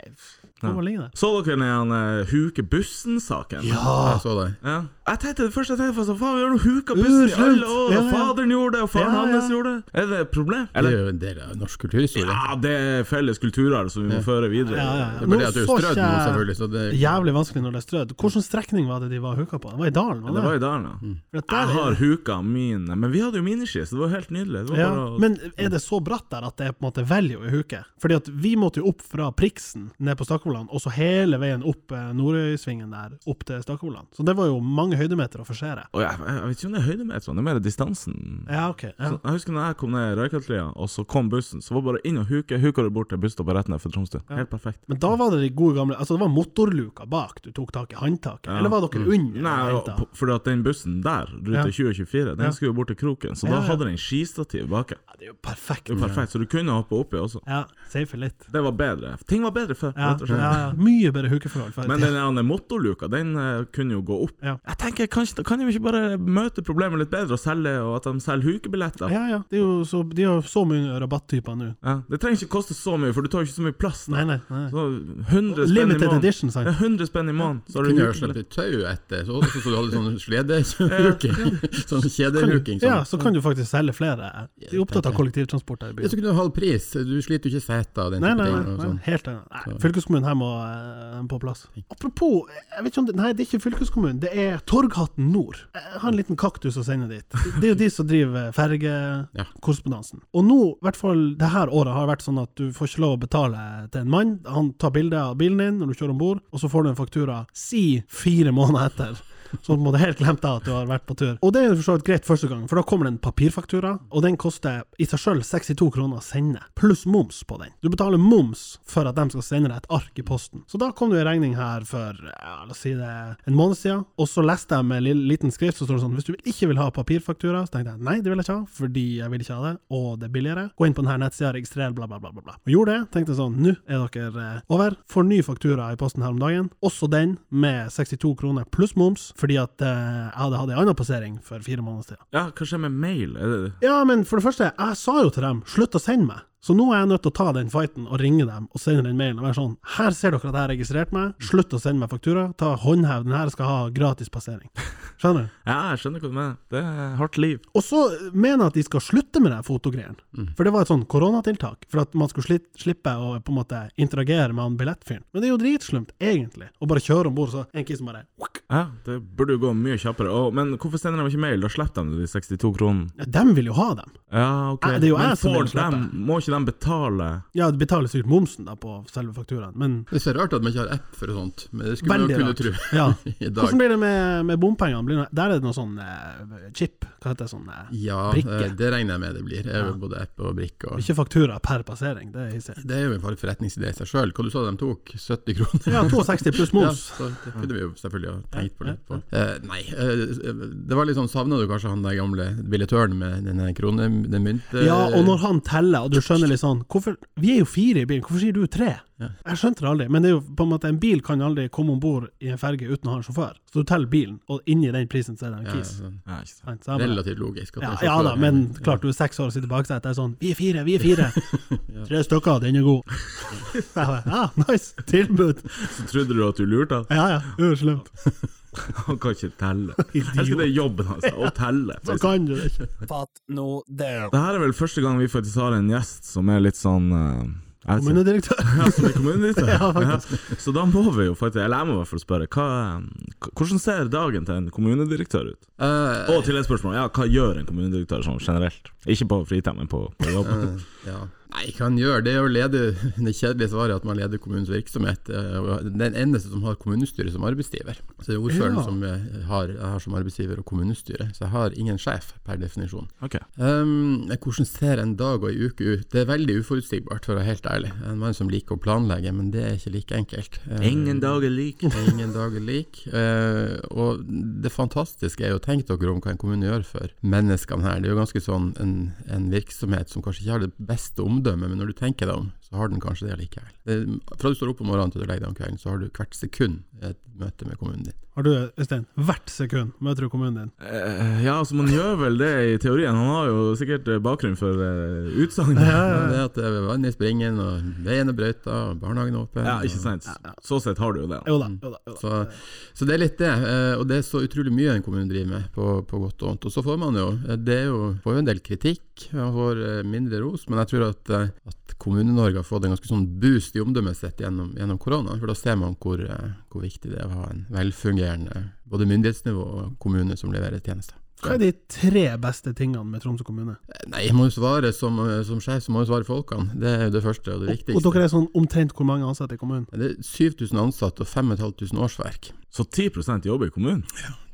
Speaker 3: hvor ja. ligger det?
Speaker 2: Så dere den igjen, eh, Huke Bussen-saken?
Speaker 4: Jeg så det.
Speaker 2: Ja. Jeg tenkte det første jeg tenkte, var sånn, faen, vi har jo huka bussen i
Speaker 3: Urslent.
Speaker 2: alle år,
Speaker 3: Ja,
Speaker 2: og
Speaker 3: ja.
Speaker 2: faderen gjorde det, og faren
Speaker 3: Ja, ja.
Speaker 2: hans gjorde det. Er det et problem?
Speaker 4: Det er
Speaker 2: Eller?
Speaker 4: jo en del av norsk kulturhistorie.
Speaker 2: Ja, det er felles kulturarv som vi må føre videre.
Speaker 3: Ja, ja, ja.
Speaker 4: Det er bare det at det er
Speaker 3: Nå så
Speaker 4: strødd nå,
Speaker 3: ikke-
Speaker 4: selvfølgelig. Så det,
Speaker 3: Jævlig vanskelig når det er strødd. Hvilken strekning var det de var hooka på? Det var i dalen,
Speaker 2: Det var
Speaker 3: var det?
Speaker 2: i dalen, ja.
Speaker 3: For at der
Speaker 2: Jeg
Speaker 3: er-
Speaker 2: har huka min Men vi hadde jo miniski, så det var helt nydelig. Det var
Speaker 3: Ja,
Speaker 2: bare å-
Speaker 3: men er det så bratt der at det er på en måte value i huke? Fordi at vi måtte jo opp fra Priksen ned på Stakkevollan, og så hele veien opp eh, Nordøysvingen der, opp til Stakkevollan. Så det var jo mange høydemeter å forsere.
Speaker 2: Å, jeg, jeg vet ikke om det er høydemeteren, det er mer distansen.
Speaker 3: Ja, ok. Ja.
Speaker 2: Så Jeg husker når jeg kom ned i Røykaltlia, og så kom bussen, så var det bare inn og huke. Huka du bort til busstoppet rett ned for Tromsø. Helt perfekt.
Speaker 3: Men da var det de gode gamle Altså, det var motorluka bak du tok tak i håndtaket, eller var dere under?
Speaker 2: Nei,
Speaker 3: Mm. og
Speaker 2: og
Speaker 3: hentet?
Speaker 2: på- fordi at den bussen der, rute
Speaker 3: Ja.
Speaker 2: 2024, den skulle jo bort til kroken, så
Speaker 3: Ja,
Speaker 2: da
Speaker 3: ja.
Speaker 2: hadde den skistativ baki.
Speaker 3: ja, det er jo perfekt.
Speaker 2: Det var Perfekt, så du kunne hoppe oppi også.
Speaker 3: Ja, safe litt.
Speaker 2: Det var bedre. Ting var bedre før,
Speaker 3: Ja,
Speaker 2: rett og
Speaker 3: ja,
Speaker 2: slett.
Speaker 3: ja. Mye bedre hukeforhold før i
Speaker 2: Men
Speaker 3: tida.
Speaker 2: den der motorluka, den eh, kunne jo gå opp.
Speaker 3: Ja.
Speaker 2: Jeg tenker, kanskje, Kan de ikke bare møte problemet litt bedre og selge, og at de selger hukebilletter?
Speaker 3: Ja, ja. Det er jo så, de har jo så mye rabattyper nå.
Speaker 2: Ja, det trenger ikke koste så mye, for du tar jo ikke så mye plass. Da.
Speaker 3: Nei, nei. nei.
Speaker 2: Så 100 spenn i
Speaker 3: Limited
Speaker 2: måneden.
Speaker 3: edition, sant? (laughs)
Speaker 2: Ja, 100 spenn i måneden. Så har du
Speaker 4: kunne jeg
Speaker 2: uke-
Speaker 4: sluppet tau etter, så, så du hadde (laughs) sånn
Speaker 3: (laughs)
Speaker 4: sledehuking. Sånn kjederhuking. Sånn.
Speaker 3: Ja, så kan du faktisk selge flere. De er opptatt av kollektivtransport her i
Speaker 4: Ja,
Speaker 3: byen.
Speaker 4: så kunne du ha halv pris. Du sliter jo ikke seter og den
Speaker 3: Nei,
Speaker 4: type
Speaker 3: nei,
Speaker 4: ting.
Speaker 3: nei,
Speaker 4: og
Speaker 3: nei,
Speaker 4: sånn.
Speaker 3: helt enig. Nei, Fylkeskommunen her må eh, på plass. Apropos, jeg vet ikke om det, nei, det er ikke fylkeskommunen, det er Torghatten Nord. Jeg har en liten kaktus å sende dit. Det er jo de som driver
Speaker 4: Ja.
Speaker 3: fergekorrespondansen. Og nå, i hvert fall det her året, har vært sånn at du får ikke lov å betale til en mann. Han tar bilde av bilen din når du kjører om bord, og så får du en faktura si fire måneder etter. Så må du helt glemme deg at du har vært på tur. Og det er jo for så vidt greit første gang, for da kommer det en papirfaktura, og den koster i seg sjøl 62 kroner å sende, pluss moms på den. Du betaler moms for at de skal sende deg et ark i posten. Så da kom det en regning her for ja, la oss si det en måned siden, og så leste jeg med en lille- liten skrift så står det sånn hvis du ikke vil ha papirfaktura, så tenkte jeg nei, det vil jeg ikke ha, fordi jeg vil ikke ha det, og det er billigere. Gå inn på denne nettsida, registrer, bla, bla, bla. bla, bla. Og gjorde det. Tenkte sånn, nå er dere eh, over. Får ny faktura i posten her om dagen. Også den med 62 kroner pluss moms, fordi at eh, jeg hadde hatt en annen passering for fire måneder siden.
Speaker 2: Ja, hva skjer med mail? Er det det?
Speaker 3: Ja, men for det første, jeg sa jo til dem, slutt å sende meg. Så nå er jeg nødt til å ta den fighten og ringe dem og sende den mailen og være sånn, her ser dere at jeg har registrert meg, slutt å sende meg faktura, ta håndhev, den her skal ha gratis passering. Skjønner du?
Speaker 2: Ja, jeg skjønner hva du mener. Det er hardt liv.
Speaker 3: Og så mener jeg at de skal slutte med de fotogreiene.
Speaker 4: Mm.
Speaker 3: For det var et sånn koronatiltak, for at man skulle slitt, slippe å på en måte interagere med han billettfyren. Men det er jo dritslumt, egentlig, å bare kjøre om bord, så en kis som bare «Wak!»
Speaker 2: Ja, det burde jo gå mye kjappere. Å, men hvorfor sender de ikke mail? Da slipper de de 62 kronene.
Speaker 3: ja, Dem vil jo ha dem.
Speaker 2: Ja, ok.
Speaker 3: Nei, det er jo
Speaker 2: men
Speaker 3: jeg som vil
Speaker 2: får dem, må ikke de betale?
Speaker 3: Ja, det betaler sikkert momsen da på selve fakturaen, men
Speaker 4: Det er så rart at man ikke har app for sånt, men det skulle
Speaker 3: veldig
Speaker 4: man jo kunne
Speaker 3: rart.
Speaker 4: tro (laughs)
Speaker 3: Ja.
Speaker 4: i dag.
Speaker 3: Hvordan blir det med, med bompengene? Blir det, der er det noe sånn eh, chip. Hva heter det sånn eh,
Speaker 4: Ja,
Speaker 3: Brikke.
Speaker 4: eh, det regner jeg med det blir. Det er jo
Speaker 3: Ja.
Speaker 4: både app og brikke. Og.
Speaker 3: Ikke faktura per passering, det er hissig.
Speaker 4: Det er jo en forretningsidé i seg sjøl. Hva du sa de tok? 70 kroner?
Speaker 3: Ja, 62 pluss moms.
Speaker 4: Ja, så det kunne vi jo selvfølgelig ha tenkt på litt på. Eh, nei, eh, det var litt sånn Savna du kanskje han der gamle billettøren med den her krone, den mynt...
Speaker 3: Ja, og når han teller, og du skjønner litt sånn hvorfor, Vi er jo fire i bilen, hvorfor sier du tre?
Speaker 4: Ja.
Speaker 3: Jeg skjønte det aldri, men det er jo på en måte en bil kan aldri komme om bord i en ferge uten å ha en sjåfør. Så du teller bilen, og inni den prisen så er det en
Speaker 4: ja,
Speaker 3: kis.
Speaker 4: sånn,
Speaker 2: Ja, ikke sant.
Speaker 3: Sant? Så jeg bare-
Speaker 4: Relativt logisk. at
Speaker 3: ja,
Speaker 4: det er
Speaker 3: ja da,
Speaker 4: sjåfør.
Speaker 3: men klart du er seks år og sitter bak seg, det er sånn Vi er fire, vi er fire!
Speaker 4: (laughs)
Speaker 3: Tre stykker, den er god. Jeg bare, Ja, nice! Tilbud!
Speaker 2: Så trodde du at du lurte han?
Speaker 3: Ja ja, uslemt.
Speaker 2: (laughs) Han kan ikke telle. Jeg husker det er jobben hans, å telle.
Speaker 3: Så kan du det
Speaker 4: (laughs)
Speaker 3: ikke.
Speaker 5: Fatt nå det.
Speaker 2: Det her er vel første gang vi faktisk har en gjest som er litt sånn eh, jeg vet ikke.
Speaker 3: Kommunedirektør.
Speaker 2: (laughs) Ja, som er kommunedirektør.
Speaker 3: Ja,
Speaker 2: ja, så da må vi jo faktisk, eller jeg må i hvert fall spørre, hva, eh, hvordan ser dagen til en kommunedirektør ut?
Speaker 4: Eh,
Speaker 2: Og til et spørsmål, ja, hva gjør en kommunedirektør sånn generelt? Ikke på fritid, men på, på jobb.
Speaker 4: (laughs)
Speaker 2: (laughs)
Speaker 4: ja. Nei, hva han gjør, det er å lede (laughs) Det kjedelige svaret er at man leder kommunens virksomhet. eh, og Den eneste som har kommunestyret som arbeidsgiver. Så det er ordføreren
Speaker 3: Ja.
Speaker 4: som eh, har, jeg har som arbeidsgiver og kommunestyret. Så jeg har ingen sjef, per definisjon.
Speaker 2: Ok.
Speaker 4: Um, hvordan ser en dag og ei uke ut? Det er veldig uforutsigbart, for å være helt ærlig. Jeg er En mann som liker å planlegge, men det er ikke like enkelt. Eh,
Speaker 2: Ingen dag er lik.
Speaker 4: Ingen dag er lik. Eh, og det fantastiske er jo, tenk dere om hva en kommune gjør for menneskene her. Det er jo ganske sånn en, en virksomhet som kanskje ikke har det beste omdømmet, men når du tenker deg om, så har den kanskje det likevel. Eh, fra du står opp om morgenen til du legger deg om kvelden, så har du hvert sekund et møte med kommunen din.
Speaker 3: Har du, Øystein, hvert sekund møter du kommunen din.
Speaker 2: Eh, ja, altså man gjør vel det i teorien. Han har jo sikkert eh, bakgrunn for uh, utsagn.
Speaker 4: Ja, Det at det er vann i springen, og veien er brøyta, og barnehagen er åpen.
Speaker 2: Ja, ikke
Speaker 4: og-
Speaker 2: sant. Så sett har du jo det.
Speaker 3: Jo da, jo da. Jo da.
Speaker 4: Mm. Så, så det er litt det, eh, og det er så utrolig mye en kommune driver med, på, på godt og vondt. Og så får man jo, eh, det er jo, får jo en del kritikk, man får eh, mindre ros, men jeg tror at, eh, at Kommune-Norge har fått en ganske sånn boost i omdømmet sitt gjennom, gjennom korona. For da ser man hvor, eh, hvor viktig det er å ha en velfungerende både myndighetsnivå og kommune som leverer tjenester.
Speaker 3: Hva er de tre beste tingene med Tromsø kommune?
Speaker 4: Eh, Nei, jeg må jo svare som, eh, som sjef, så må jeg jo svare folkene. Det er jo det første og det
Speaker 3: Og,
Speaker 4: viktigste.
Speaker 3: og dere er sånn omtrent hvor mange ansatte i kommunen?
Speaker 4: Det er 7000 ansatte og 5500 årsverk.
Speaker 2: Så 10 jobber i kommunen.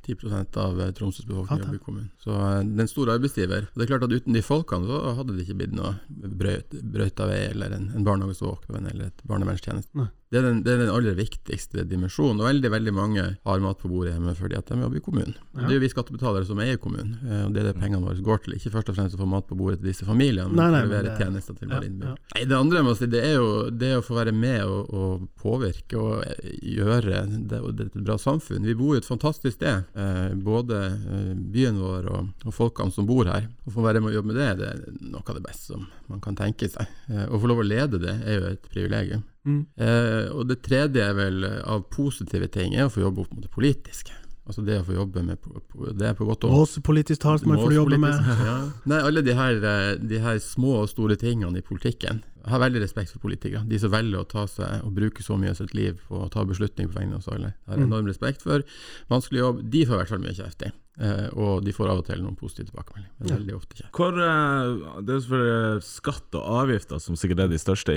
Speaker 4: 10 av eh, Tromsøs befolkning
Speaker 3: Fatta.
Speaker 4: jobber i kommunen. Så eh, det er en stor arbeidsgiver. Og det er klart at uten de folkene så hadde det ikke blitt noe brøyt, brøyta vei eller en, en barnehage som var åpen eller et
Speaker 3: Nei.
Speaker 4: barnevernstjeneste. Det er, den, det er den aller viktigste dimensjonen. Og veldig veldig mange har mat på bordet hjemme fordi at de jobber i kommunen. Og Det er jo vi skattebetalere som eier kommunen, eh, og det er det pengene våre går til. Ikke først og fremst å få mat på bordet til disse familiene,
Speaker 3: Nei,
Speaker 4: men
Speaker 3: nei, men
Speaker 4: å levere
Speaker 3: det-
Speaker 4: tjenester til
Speaker 3: ja,
Speaker 4: våre innbyggere.
Speaker 3: ja.
Speaker 4: Nei, Det andre jeg må si, det er jo det å få være med og, og påvirke og eh, gjøre det, og det er et bra samfunn. Vi bor jo et fantastisk sted, eh, både eh, byen vår og, og folkene som bor her. Å få være med og jobbe med det, det er noe av det beste som man kan tenke seg. Eh, å få lov å lede det er jo et privilegium.
Speaker 3: Mm.
Speaker 4: Eh, og det tredje er vel eh, av positive ting er å få jobbe opp mot det politiske. Altså det å få jobbe med po- po- det er på godt og vondt.
Speaker 3: Mås politisk talsmann får du jobbe (laughs) med.
Speaker 4: Ja. Nei, alle de her, eh, de her små og store tingene i politikken. Jeg har veldig respekt for politikere. De som velger å ta seg og bruke så mye av sitt liv på å ta beslutninger på vegne av oss alle. Jeg
Speaker 3: Mm.
Speaker 4: har enorm respekt for. Vanskelig jobb. De får i hvert fall mye kjeft i. Eh, Og de får av og til noen positive tilbakemeldinger. Men veldig ofte kjeft.
Speaker 2: Hvor, eh, det er jo selvfølgelig skatt og avgifter som sikkert er de største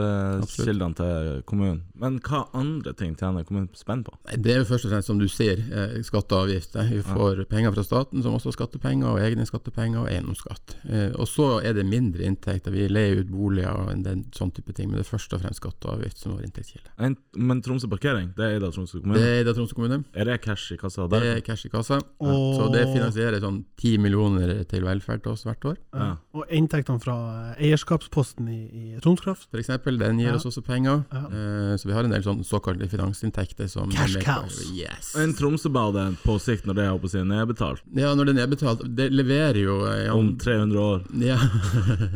Speaker 2: inntektskildene til kommunen. Men hva andre ting tjener kommunen spenn på?
Speaker 4: Nei, Det er jo først og fremst, som du sier, eh, skatte og avgifter. Vi får penger fra staten, som også er skattepenger, og egne skattepenger og eiendomsskatt. Eh, Og så er det mindre inntekter. Vi leier ut boliger og en del sånn type ting, men det er først og fremst skatte og avgift som er vår inntektskilde.
Speaker 2: En, men Tromsø parkering, det er eid av Tromsø
Speaker 4: Det
Speaker 2: kommune.
Speaker 4: er Ida Tromsø kommune.
Speaker 2: Er det cash i kassa
Speaker 4: Det
Speaker 2: der?
Speaker 4: er cash i kassa.
Speaker 3: Og-
Speaker 4: Så det finansierer sånn 10 millioner til velferd til oss hvert år.
Speaker 2: Ja.
Speaker 3: Og inntektene fra eh, eierskapsposten i, i Troms Kraft.
Speaker 4: For eksempel, den gir
Speaker 3: Ja.
Speaker 4: oss også penger.
Speaker 3: Ja.
Speaker 4: Eh, Så vi har en del sånn såkalte finansinntekter som
Speaker 3: Cash cows.
Speaker 4: Yes.
Speaker 2: En Tromsøbade på sikt, når det er oppe siden nedbetalt,
Speaker 4: Ja, når den er betalt Det leverer jo eh, ja,
Speaker 2: om 300 år.
Speaker 4: (laughs) ja,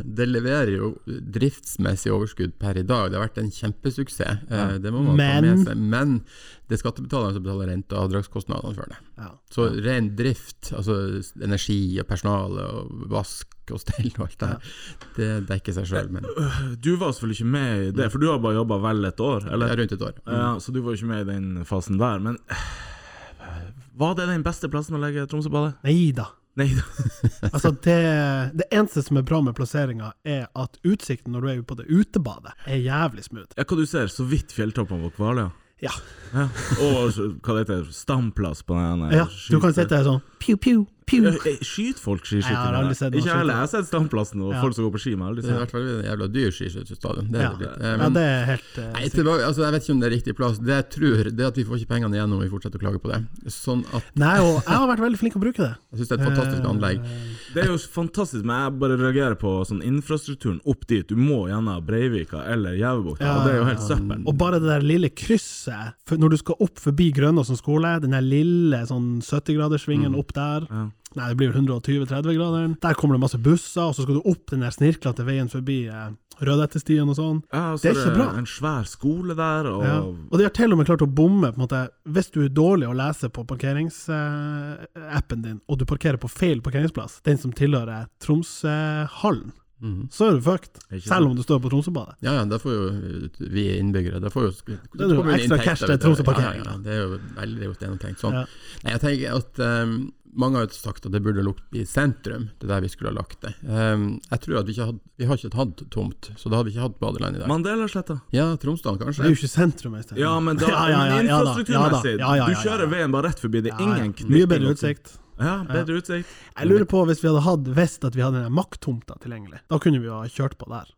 Speaker 4: Det leverer jo driftsmessig overskudd per i dag. Det har vært en kjempesuksess. Eh, Det må man ta
Speaker 3: Men-
Speaker 4: med seg. Men det er skattebetalerne som betaler rente- og avdragskostnadene for det.
Speaker 3: Ja.
Speaker 4: Så ren drift, altså energi og personale og vask og stell og alt det her, det dekker seg sjøl, men det
Speaker 2: Du var selvfølgelig ikke med i det, for du har bare jobba vel et år, eller?
Speaker 4: er rundt et år.
Speaker 2: Ja, så du var ikke med i den fasen der, men eh, Var det den beste plassen å legge Tromsøbadet?
Speaker 3: Nei da.
Speaker 2: Nei,
Speaker 3: Altså, det, det eneste som er bra med plasseringa, er at utsikten når du er ute på det utebadet, er jævlig smooth.
Speaker 2: ja, hva du ser, så vidt fjelltoppene på Kvaløya.
Speaker 3: Ja.
Speaker 2: Ja. Og så- hva det heter stamplass på den ene
Speaker 3: ja du kan sitte sånn pew, pew, Pew!
Speaker 2: Skyter folk skiskyting?
Speaker 3: Jeg har aldri sett noen
Speaker 2: Ikke jeg heller.
Speaker 3: skyte.
Speaker 2: Jeg har sett standplassen og
Speaker 3: Ja.
Speaker 2: folk som går på ski, men jeg har aldri
Speaker 4: Det er i
Speaker 2: sett
Speaker 4: hvert fall en jævla dyr skiskytterstadion. Det er
Speaker 3: Ja.
Speaker 4: det blitt. Eh,
Speaker 3: Ja,
Speaker 4: men-
Speaker 3: det er helt eh,
Speaker 4: Nei,
Speaker 3: sikkert.
Speaker 4: tilbake, altså, jeg vet ikke om det er riktig plass. Det jeg tror, det er at vi får ikke pengene igjen om vi fortsetter å klage på det. Sånn at
Speaker 3: Nei, og jeg har vært veldig flink til å bruke det.
Speaker 4: jeg syns det er et fantastisk
Speaker 3: Eh,
Speaker 4: anlegg.
Speaker 2: Det er jo fantastisk, men jeg bare reagerer på sånn infrastrukturen opp dit. Du må gjennom Breivika eller Gjævebukta,
Speaker 3: Ja,
Speaker 2: og det er jo
Speaker 3: ja,
Speaker 2: helt søppel.
Speaker 3: Og bare det der lille krysset, for når du skal opp forbi Grønåsen skole, den der lille sånn 70-graderssvingen opp der,
Speaker 2: Mm. Ja.
Speaker 3: nei, det blir vel 120-30-graderen, der kommer det masse busser, og så skal du opp den der snirklete veien forbi eh, Rødhettestien og sånn.
Speaker 2: Ja, og så
Speaker 3: Det er ikke bra.
Speaker 2: En svær skole der, og
Speaker 3: Ja. Og de har til og med klart å bomme, på en måte, hvis du er dårlig å lese på parkeringsappen din, og du parkerer på feil parkeringsplass, den som tilhører Tromsøhallen,
Speaker 4: Mhm.
Speaker 3: så er du fucked,
Speaker 2: Ikke sant?
Speaker 3: selv om du står på Tromsøbadet.
Speaker 4: Ja, ja, da får jo vi innbyggere da får jo,
Speaker 3: er jo ekstra cash til Tromsø parkering,
Speaker 4: Ja, ja, ja, det er jo veldig godt gjennomtenkt. Sånn.
Speaker 3: Ja.
Speaker 4: Nei, jeg tenker at ehm, Mange har jo sagt at det burde ligget i sentrum, det er der vi skulle ha lagt det. Ehm, jeg tror at vi ikke hadde, vi har ikke hatt tomt, så da hadde vi ikke hatt badeland i dag.
Speaker 2: Mandelasletta.
Speaker 4: Ja, Tromsdalen
Speaker 3: Det er
Speaker 4: kanskje.
Speaker 3: jo ikke sentrum, Øystein.
Speaker 2: Ja, men da
Speaker 3: (laughs) Ja, ja, ja,
Speaker 2: men
Speaker 3: ja da, ja da, ja,
Speaker 2: infrastrukturmessig.
Speaker 3: ja, ja, ja.
Speaker 2: Du kjører veien bare rett forbi. Det
Speaker 3: Ja,
Speaker 2: er
Speaker 3: ja.
Speaker 2: ingen knytning.
Speaker 3: Mye bedre utsikt.
Speaker 2: Ja, bedre utsikt.
Speaker 3: Jeg lurer på hvis vi hadde hatt visst at vi hadde den der makttomta tilgjengelig. Da kunne vi jo ha kjørt på der.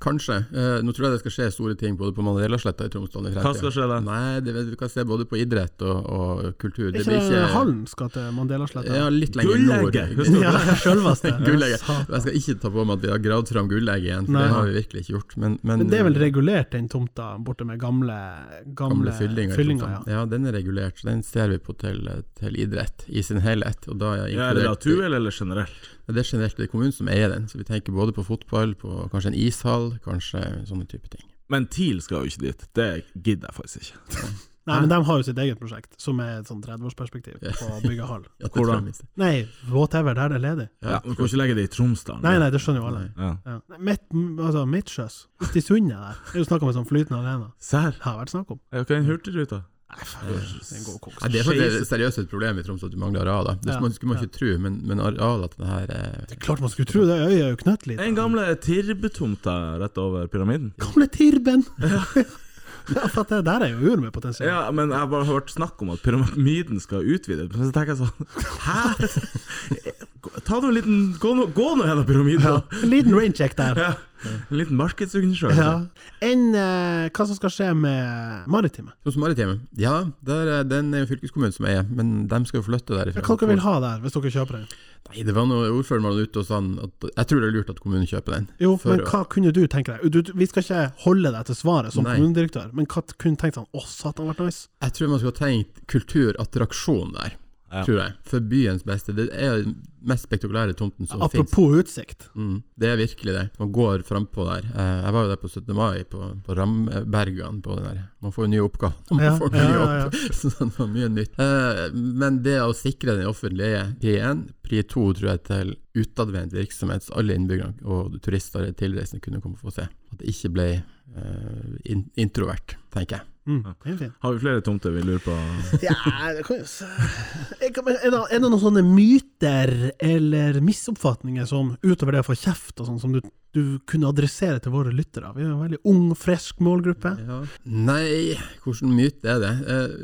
Speaker 4: Kanskje. Eh, nå tror jeg det skal skje store ting både på Mandelasletta i Tromsdalen i
Speaker 2: Hva skal skje da?
Speaker 4: Nei, det, vet- vi kan se både på idrett og, og kultur.
Speaker 3: Er
Speaker 4: Det
Speaker 3: ikke
Speaker 4: blir
Speaker 3: det
Speaker 4: ikke
Speaker 3: Hallen skal til Mandelasletta?
Speaker 4: Ja, litt lenger nord.
Speaker 2: Gullegget! Husker du det?
Speaker 3: ja sjølveste.
Speaker 4: (laughs) Gullegget.
Speaker 3: Satan.
Speaker 4: Jeg skal ikke ta på meg at vi har gravd fram gullegget igjen, for
Speaker 3: Nei.
Speaker 4: det har vi virkelig ikke gjort. Men, men,
Speaker 3: Men det er vel regulert, den tomta borte med gamle
Speaker 4: gamle
Speaker 3: Gamle,
Speaker 4: fyllinger.
Speaker 3: fyllinger
Speaker 4: ja.
Speaker 3: ja.
Speaker 4: ja, den er regulert, så den ser vi på til, til idrett i sin helhet. Og da er,
Speaker 2: Ja, er det
Speaker 4: inkludert-
Speaker 2: naturlig eller generelt?
Speaker 4: Ja, Det er generelt det er kommunen som eier den, så vi tenker både på fotball, på kanskje en ishall, kanskje sånne type ting.
Speaker 2: Men TIL skal jo ikke dit. Det gidder jeg faktisk ikke.
Speaker 3: Nei, men de har jo sitt eget prosjekt, som er et sånn 30-årsperspektiv på å bygge hall.
Speaker 4: Ja, det
Speaker 2: Hvordan?
Speaker 4: tror jeg minst.
Speaker 3: Nei, whatever, der det er ledig.
Speaker 2: Ja, men Du kan ikke legge det i Tromsdalen.
Speaker 3: Nei, nei, det skjønner jo alle.
Speaker 2: Ja.
Speaker 3: Ja. Nei, Midt, altså, Midtsjøs, uti sundet der. Det er jo snakk om en sånn flytende arena.
Speaker 2: Serr?
Speaker 3: Det har vært snakk om.
Speaker 2: Ja, Hva er en hurtigruta?
Speaker 3: Nei, faen, det er en god koks.
Speaker 4: Nei, det er faktisk
Speaker 2: Skeiv-
Speaker 4: seriøst et problem i Tromsø at du mangler arealer. Det
Speaker 3: Ja,
Speaker 4: skulle man- skulle man
Speaker 3: ja.
Speaker 4: ikke tro, men, men arealer til det her eh,
Speaker 3: Klart man skulle tro det, øyet er jo knøttlite.
Speaker 2: Den gamle Tirbetomta rett over pyramiden.
Speaker 3: Gamle
Speaker 2: (laughs)
Speaker 3: Tirben! (laughs) Ja, for at det der er jo ur med potensial.
Speaker 2: Ja, men jeg har bare hørt snakk om at pyramiden skal utvides. Men så tenker jeg sånn Hæ? (laughs) Ta nå en liten Gå nå, gå nå gjennom pyramiden! da.
Speaker 3: En liten raincheck der.
Speaker 2: Ja. En liten markedsundersøkelse.
Speaker 3: Ja. Enn eh, hva som skal skje med maritime?
Speaker 4: Tromsø Maritime. Ja, der, er- den er jo fylkeskommunen som eier, men de skal jo flytte derifra.
Speaker 3: Hva dere vil ha der, hvis dere kjøper den?
Speaker 4: Nei, det var noe ordføreren var ute og sa han at jeg tror det er lurt at kommunen kjøper den.
Speaker 3: Jo,
Speaker 4: For
Speaker 3: men
Speaker 4: å-
Speaker 3: hva kunne du tenke deg? Du, du- vi skal ikke holde deg til svaret som
Speaker 4: Nei.
Speaker 3: kommunedirektør, men hva kunne du tenkt sånn Å, satan, vært nice?
Speaker 4: Jeg tror man skulle ha tenkt kulturattraksjon der,
Speaker 2: Ja.
Speaker 4: tror jeg. For byens beste. Det er den mest spektakulære tomten som finnes.
Speaker 3: Apropos utsikt.
Speaker 4: Mm, det er virkelig det. Man går frampå der. Eh, Jeg var jo der på 17. mai, på, på Rambergene. På den der. Man får jo nye oppgaver. (laughs) Man
Speaker 3: Ja,
Speaker 4: får
Speaker 3: ja,
Speaker 4: mye
Speaker 3: ja, ja.
Speaker 4: opp. (laughs) Så det var mye nytt. Eh, Men det å sikre den offentlige P1, pri 2 tror jeg til utadvendt virksomhet, så alle innbyggerne og turister eller tilreisende kunne komme og få se. At det ikke ble eh, in introvert, tenker jeg.
Speaker 3: Mm. det er fint.
Speaker 2: Har vi flere tomter vi lurer på?
Speaker 3: Ja, det kan jo s- Jeg kan- men Er det er det noen sånne myter eller misoppfatninger som, utover det å få kjeft og sånn, som du, du kunne adressere til våre lyttere? Vi er en veldig ung, frisk målgruppe.
Speaker 4: Nei, hvilken myte er det? Eh,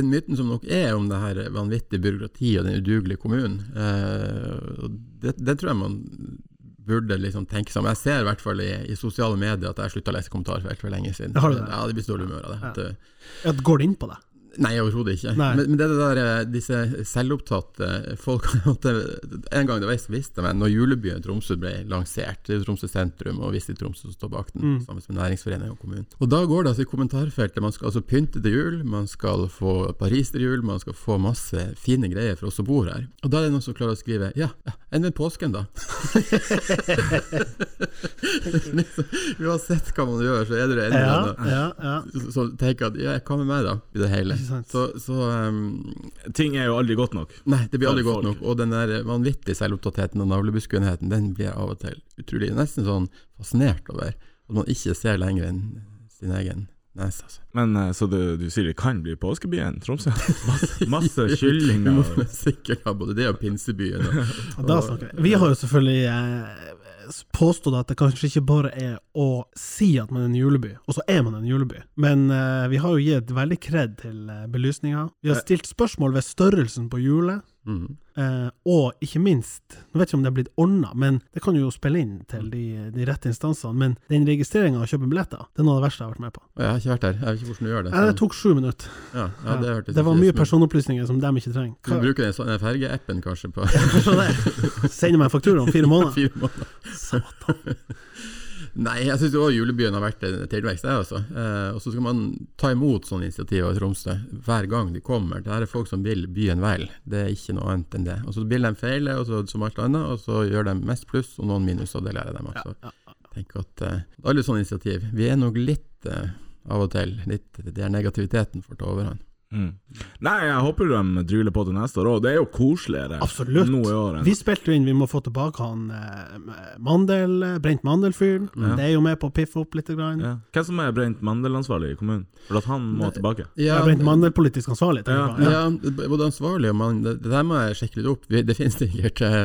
Speaker 4: Den myten som nok er om det her vanvittige byråkratiet og den udugelige kommunen, eh, og det, det tror jeg man burde liksom tenke seg om. Jeg ser i hvert fall i, i sosiale medier at jeg slutta å lese kommentarfelt for lenge siden.
Speaker 3: Har du det?
Speaker 4: Ja, det blir dårlig humør av det. At, eh,
Speaker 3: Ja, går det inn på deg?
Speaker 4: Nei, overhodet ikke.
Speaker 3: Nei.
Speaker 4: Men, men det der, eh, disse selvopptatte eh, folk at det- En gang det var- visste jeg, når julebyen Tromsø ble lansert, det er jo Tromsø sentrum og Visit Tromsø som står bak den,
Speaker 3: Mm.
Speaker 4: sammen med næringsforeningen og kommunen. Og Da går det altså i kommentarfeltet. Man skal altså pynte til jul, man skal få Paris til jul, man skal få masse fine greier for oss som bor her. Og da er det noen som klarer å skrive Ja, ja, enn med påsken,
Speaker 3: (laughs)
Speaker 4: da? (laughs) liksom, uansett hva man gjør, så er det det ene eller
Speaker 3: Ja,
Speaker 4: annet.
Speaker 3: ja, ja.
Speaker 4: Så- Så tenker jeg at ja, hva med meg, da, i det hele?
Speaker 3: Ikke sant.
Speaker 4: Så, så um,
Speaker 2: Ting er jo aldri godt nok.
Speaker 4: Nei, det blir aldri
Speaker 2: For
Speaker 4: godt nok.
Speaker 2: folk.
Speaker 4: Og den der vanvittige selvopptattheten og navlebeskuenheten, den blir jeg av og til utrolig nesten sånn fascinert over. At man ikke ser lenger enn sin egen nese, altså.
Speaker 2: Men eh, Så du, du sier det kan bli påskebyen Tromsø? Masse,
Speaker 4: (laughs)
Speaker 2: masse (laughs)
Speaker 4: Vi må
Speaker 2: kyllinger. og-
Speaker 4: sikkert ha både det og pinsebyen. Og,
Speaker 3: Ja, Da snakker vi. Vi har jo selvfølgelig eh, påstått at det kanskje ikke bare er å si at man er en juleby, og så er man en juleby. Men eh, vi har jo gitt veldig kred til eh, belysninga. Vi har stilt spørsmål ved størrelsen på hjulet.
Speaker 4: Mm.
Speaker 3: Eh, og ikke minst, nå vet jeg ikke om det er blitt ordna, men det kan du jo spille inn til de, de rette instansene, men den registreringa av å kjøpe billetter, det er noe av det verste jeg har vært med på.
Speaker 4: Og Jeg har ikke vært der. Jeg vet ikke hvordan du gjør det.
Speaker 3: Eh, det
Speaker 4: så-
Speaker 3: tok sju minutter.
Speaker 4: ja, ja, det, hørtes
Speaker 3: det var
Speaker 4: ikke
Speaker 3: mye
Speaker 4: ut som-
Speaker 3: personopplysninger som de ikke trenger.
Speaker 4: Du bruker den sånn- den fergeappen kanskje på
Speaker 3: Kanskje det. (laughs) Sender meg faktura om fire
Speaker 4: (laughs)
Speaker 3: måneder.
Speaker 4: fire måneder. Nei, jeg syns også julebyen har vært en tilvekst, jeg altså. Eh, og så skal man ta imot sånne initiativer i Tromsø hver gang de kommer. Det her er folk som vil byen vel, det er ikke noe annet enn det. Og så vil de feile, og så, som alt annet, og så gjør de mest pluss og noen minus, og det lærer de. Altså. Tenk at eh, alle sånne initiativ Vi er nok litt eh, av og til litt, Det er negativiteten får ta overhånd.
Speaker 2: Mm. Nei, jeg håper de druler på til neste år òg. Det er jo koseligere
Speaker 3: Absolutt.
Speaker 2: nå i år. enn-
Speaker 3: Vi spilte jo inn Vi må få tilbake han eh, Mandel, eh, Brent Mandel-fyren. Det er jo med på å piffe opp litt. Grann.
Speaker 2: Ja. Hvem som er Brent Mandel-ansvarlig i kommunen? For at han må tilbake.
Speaker 3: Ja, Brent Mandel politisk ansvarlig. tenker jeg på.
Speaker 4: Ja, både ansvarlig og mann Det, det der må jeg sjekke litt opp. Vi- Det finnes sikkert eh,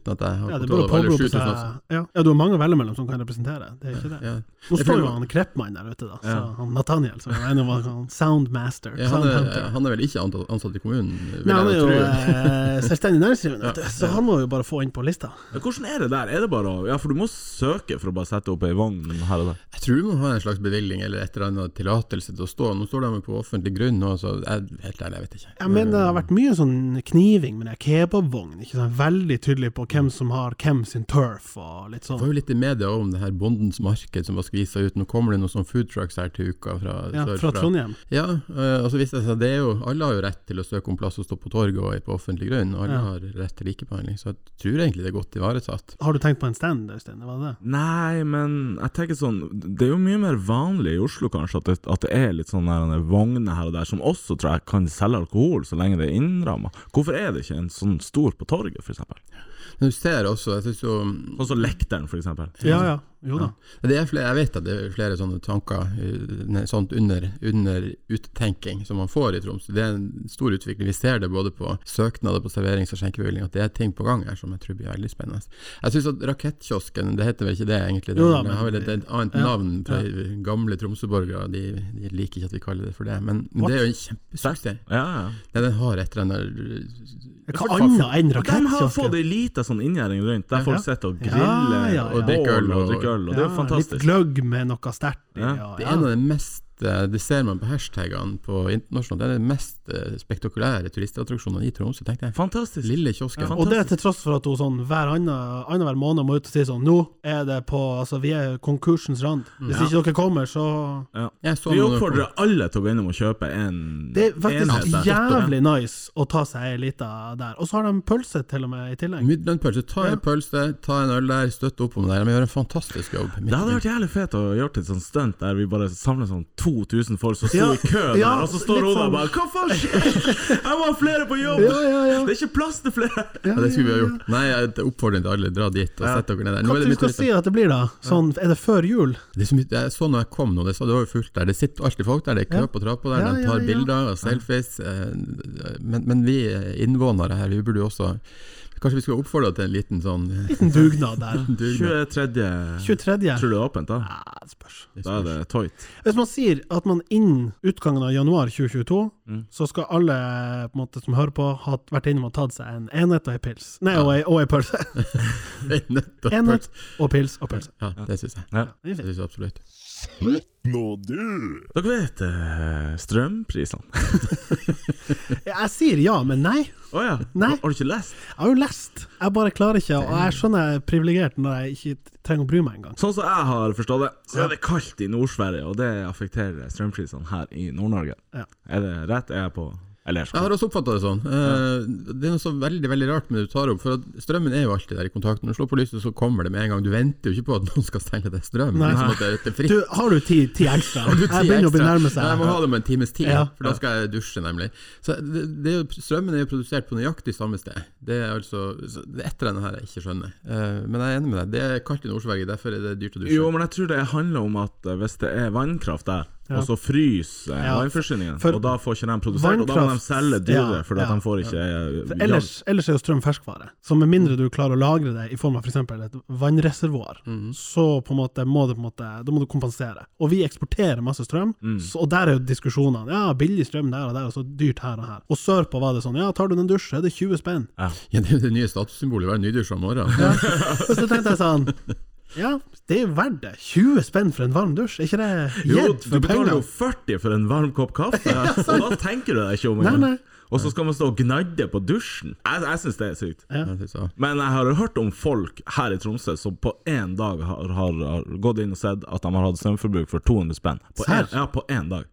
Speaker 4: uten at jeg har
Speaker 3: Ja, det burde
Speaker 4: kontroll over
Speaker 3: påberope
Speaker 4: 7000
Speaker 3: seg
Speaker 4: også.
Speaker 3: ja. ja, du har mange å velge mellom som kan representere. Det er ikke det.
Speaker 4: Ja.
Speaker 3: Nå
Speaker 4: Jeg
Speaker 3: står
Speaker 4: tror-
Speaker 3: jo han Kreppmann der ute, da. Så
Speaker 2: Ja.
Speaker 3: han Nathaniel, som er en av han Soundmaster.
Speaker 4: Ja, han, er,
Speaker 3: Soundhunter.
Speaker 4: han er vel ikke antatt- ansatt i kommunen? vil
Speaker 3: Nei, han er
Speaker 4: jeg
Speaker 3: jo
Speaker 4: tro.
Speaker 3: eh, selvstendig næringsdrivende, vet du, så han må jo bare få inn på lista.
Speaker 2: Men Hvordan er det der? Er det bare å Ja, for du må søke for å bare sette opp ei vogn her og der.
Speaker 4: Jeg tror man har en slags bevilgning eller et eller annet tillatelse til å stå. Nå står de på offentlig grunn nå, så jeg, helt ærlig, jeg vet ikke.
Speaker 3: Jeg mener det har vært mye sånn kniving med den kebabvognen. Ikke sant? Veldig tydelig på hvem som har hvem sin turf og litt
Speaker 4: Det var
Speaker 3: sånn.
Speaker 4: jo litt i media om det her Bondens marked som var skvisa ut. Nå kommer det noen sånne food trucks her til uka fra
Speaker 3: Ja, fra
Speaker 4: sørfra.
Speaker 3: Trondheim.
Speaker 4: Ja, eh, og så viste det seg at det er jo, alle har jo rett til å søke om plass og stå på torget og på offentlig grunn. og Alle
Speaker 3: Ja.
Speaker 4: har rett til likebehandling, så jeg tror egentlig det er godt ivaretatt.
Speaker 3: Har du tenkt på en stand, Øystein? Var det det?
Speaker 2: Nei, men jeg tenker sånn Det er jo mye mer vanlig i Oslo, kanskje, at det, at det er litt sånn sånne her, vogner her og der som også tror jeg kan selge alkohol, så lenge det er innramma. Hvorfor er det ikke en sånn stor på torget, for eksempel?
Speaker 4: Men du ser også, jeg synes jo
Speaker 2: Sånn som Lekteren, for eksempel.
Speaker 3: Ja, ja. Jo da.
Speaker 4: Det er flere, jeg vet at det er flere sånne tanker eh, ne- sånt under, under uttenking som man får i Tromsø. Det er en stor utvikling. Vi ser det både på søknader på serverings- og skjenkebevilling, at det er ting på gang her som jeg tror blir veldig spennende. Jeg syns at Rakettkiosken, det heter vel ikke det egentlig, det,
Speaker 3: Jo da,
Speaker 4: det har vel et, et annet
Speaker 3: ja,
Speaker 4: navn fra
Speaker 3: ja.
Speaker 4: gamle Tromsø-borgere, de, de liker ikke at vi kaller det for det, men, men
Speaker 3: What?
Speaker 4: det er jo en kjempesuksess.
Speaker 2: Ja, ja.
Speaker 4: Nei, den har et eller annet
Speaker 3: Hva annet enn
Speaker 2: De har fått
Speaker 3: rakettkiosken?
Speaker 2: ei lita sånn inngjerding rundt, der folk sitter og
Speaker 3: Ja,
Speaker 2: griller
Speaker 3: ja, ja.
Speaker 2: og drikker øl. Og, drikker øl, og Det er
Speaker 3: Ja,
Speaker 2: jo
Speaker 3: Litt
Speaker 2: fantastisk.
Speaker 3: gløgg med noe sterkt. i,
Speaker 2: Ja.
Speaker 3: Ja,
Speaker 4: Det er
Speaker 3: ja.
Speaker 4: en av de mest eh, Det ser man på hashtagene på internasjonalt. Det er den mest eh, spektakulære turistattraksjonen i Tromsø, tenkte jeg.
Speaker 2: Fantastisk.
Speaker 4: Lille kiosken.
Speaker 3: Og det er til tross for at hun sånn hver annen- annenhver måned må ut og si sånn Nå er det på Altså, vi er konkursens rand. Hvis ikke dere kommer, så
Speaker 2: Ja.
Speaker 4: Jeg
Speaker 3: Sånn
Speaker 4: så
Speaker 2: Vi
Speaker 4: noen-
Speaker 2: oppfordrer alle til å gå innom og kjøpe en
Speaker 3: Det er faktisk
Speaker 2: enhet der.
Speaker 3: jævlig nice å ta seg ei lita der. Og så har de pølse til og med i tillegg.
Speaker 4: Midtlandpølse. Ta en pølse, ta en øl der, støtte opp om det der. De gjør en fantastisk jobb.
Speaker 2: Det hadde vært jævlig fett å gjøre til et sånt stunt der vi bare samler sånn 2000 folk som sto
Speaker 3: Ja,
Speaker 2: i kø der,
Speaker 3: ja,
Speaker 2: og så står
Speaker 3: litt
Speaker 2: hun der
Speaker 3: sånn-
Speaker 2: bare Hva faen skjer? (laughs) Jeg må ha flere på jobb!
Speaker 3: Ja, ja, ja.
Speaker 2: Det er ikke plass til flere!
Speaker 4: ja, det skulle vi ha gjort. Nei, jeg oppfordrer til alle, dra dit og sett dere ned der. Nå
Speaker 3: Hva
Speaker 4: er
Speaker 3: du
Speaker 4: det, mye
Speaker 3: skal
Speaker 4: turister.
Speaker 3: si at det blir, da? Sånn, er det før jul? (laughs)
Speaker 4: det er så mye, jeg så når jeg kom nå, det, så det var jo fullt der. Det sitter alltid folk der, det er kø
Speaker 3: Ja.
Speaker 4: på trappa der,
Speaker 3: Ja,
Speaker 4: de
Speaker 3: ja,
Speaker 4: tar
Speaker 3: ja.
Speaker 4: bilder og selfies. eh, Men, men vi innvånere her, vi burde jo også Kanskje vi skulle oppfordre til en liten sånn
Speaker 3: Liten dugnad der.
Speaker 4: dugnad.
Speaker 2: 23.
Speaker 3: 23.
Speaker 2: Tror du det er åpent, da?
Speaker 3: Ja, det spørs.
Speaker 2: Da
Speaker 4: (laughs)
Speaker 2: er det toit.
Speaker 3: Hvis man sier at man innen utgangen av januar 2022, så skal alle på en måte, som hører på, ha vært innom og tatt seg en enhet og ei pils. Nei, og ei- og ei pølse.
Speaker 4: Nettopp.
Speaker 3: Enhet og pils og pølse.
Speaker 4: Ja, det syns jeg.
Speaker 3: Det er
Speaker 4: Det
Speaker 3: fint.
Speaker 4: synes jeg absolutt.
Speaker 2: Dere vet eh, strømprisene?
Speaker 3: Jeg sier ja, men nei.
Speaker 2: Å ja?
Speaker 3: Nei.
Speaker 2: Har har du ikke lest?
Speaker 3: Jeg har jo lest. Jeg bare klarer ikke, og jeg skjønner jeg er privilegert når jeg ikke trenger å bry meg engang.
Speaker 2: Sånn som jeg har forstått det, så er det kaldt i Nord-Sverige, og det affekterer strømprisene her i Nord-Norge.
Speaker 3: Ja.
Speaker 2: Er det rett? Er jeg på Eller
Speaker 4: Jeg har også oppfatta det sånn. Eh, Det er noe så veldig veldig rart med det du tar opp, for at strømmen er jo alltid der i kontakt. Når du slår på lyset, så kommer det med en gang. Du venter jo ikke på at noen skal selge deg strøm.
Speaker 3: Nei.
Speaker 4: Det er som at det er- det er fritt.
Speaker 3: Du, har du ti, ti ekstra?
Speaker 4: Har du
Speaker 3: Jeg
Speaker 4: ti
Speaker 3: begynner å
Speaker 4: ekstra?
Speaker 3: nærme
Speaker 4: Ja,
Speaker 3: seg.
Speaker 4: Jeg må ha det om en times tid,
Speaker 3: Ja.
Speaker 4: for da skal jeg dusje, nemlig. Så det, det er jo, strømmen er jo produsert på nøyaktig samme sted. Det er altså så det er et eller annet her jeg ikke skjønner. Eh, Men jeg er enig med deg. Det er kaldt i Nord-Sverige, derfor er det dyrt å dusje.
Speaker 2: Jo, men jeg tror det handler om at eh, hvis det er vannkraft der, og så fryser eh,
Speaker 3: Ja.
Speaker 2: vannforsyningen.
Speaker 3: For
Speaker 2: og da får ikke de produsert, og da må de
Speaker 3: vannkraft-
Speaker 2: selge dyrere,
Speaker 3: Ja,
Speaker 2: fordi at
Speaker 3: ja,
Speaker 2: de får ikke
Speaker 3: For
Speaker 2: eh,
Speaker 3: Ellers, ellers er jo strøm ferskvare, så med mindre du klarer å lagre det i form av f.eks. et vannreservoar,
Speaker 4: Mhm.
Speaker 3: så på en måte må du, på en måte, da må du kompensere. Og vi eksporterer masse strøm,
Speaker 4: Mm.
Speaker 3: så, og der er jo diskusjonene. Ja, billig strøm der og der, og så dyrt her og her. Og sørpå var det sånn, ja, tar du den dusj, så er det 20 spenn.
Speaker 4: Ja, det er jo det nye statussymbolet, være nydusja om morgenen.
Speaker 3: Ja. (laughs) Og så tenkte jeg sånn ja, det er jo verdt det. 20 spenn for en varm dusj, er ikke det
Speaker 2: Jo,
Speaker 3: gjedd
Speaker 2: du
Speaker 3: for
Speaker 2: betaler jo
Speaker 3: pengene?
Speaker 2: 40 for en varm kopp (laughs) kaffe, og da tenker du deg ikke om
Speaker 3: Nei,
Speaker 2: engang.
Speaker 3: nei.
Speaker 2: Og så skal man stå og gnadde på dusjen. Jeg, jeg syns det er sykt.
Speaker 4: Ja, det sa jeg.
Speaker 2: Men jeg har hørt om folk her i Tromsø som på én dag har, har, har gått inn og sett at de har hatt strømforbruk for 200 spenn. På
Speaker 3: Serr?
Speaker 2: en, ja, på én dag.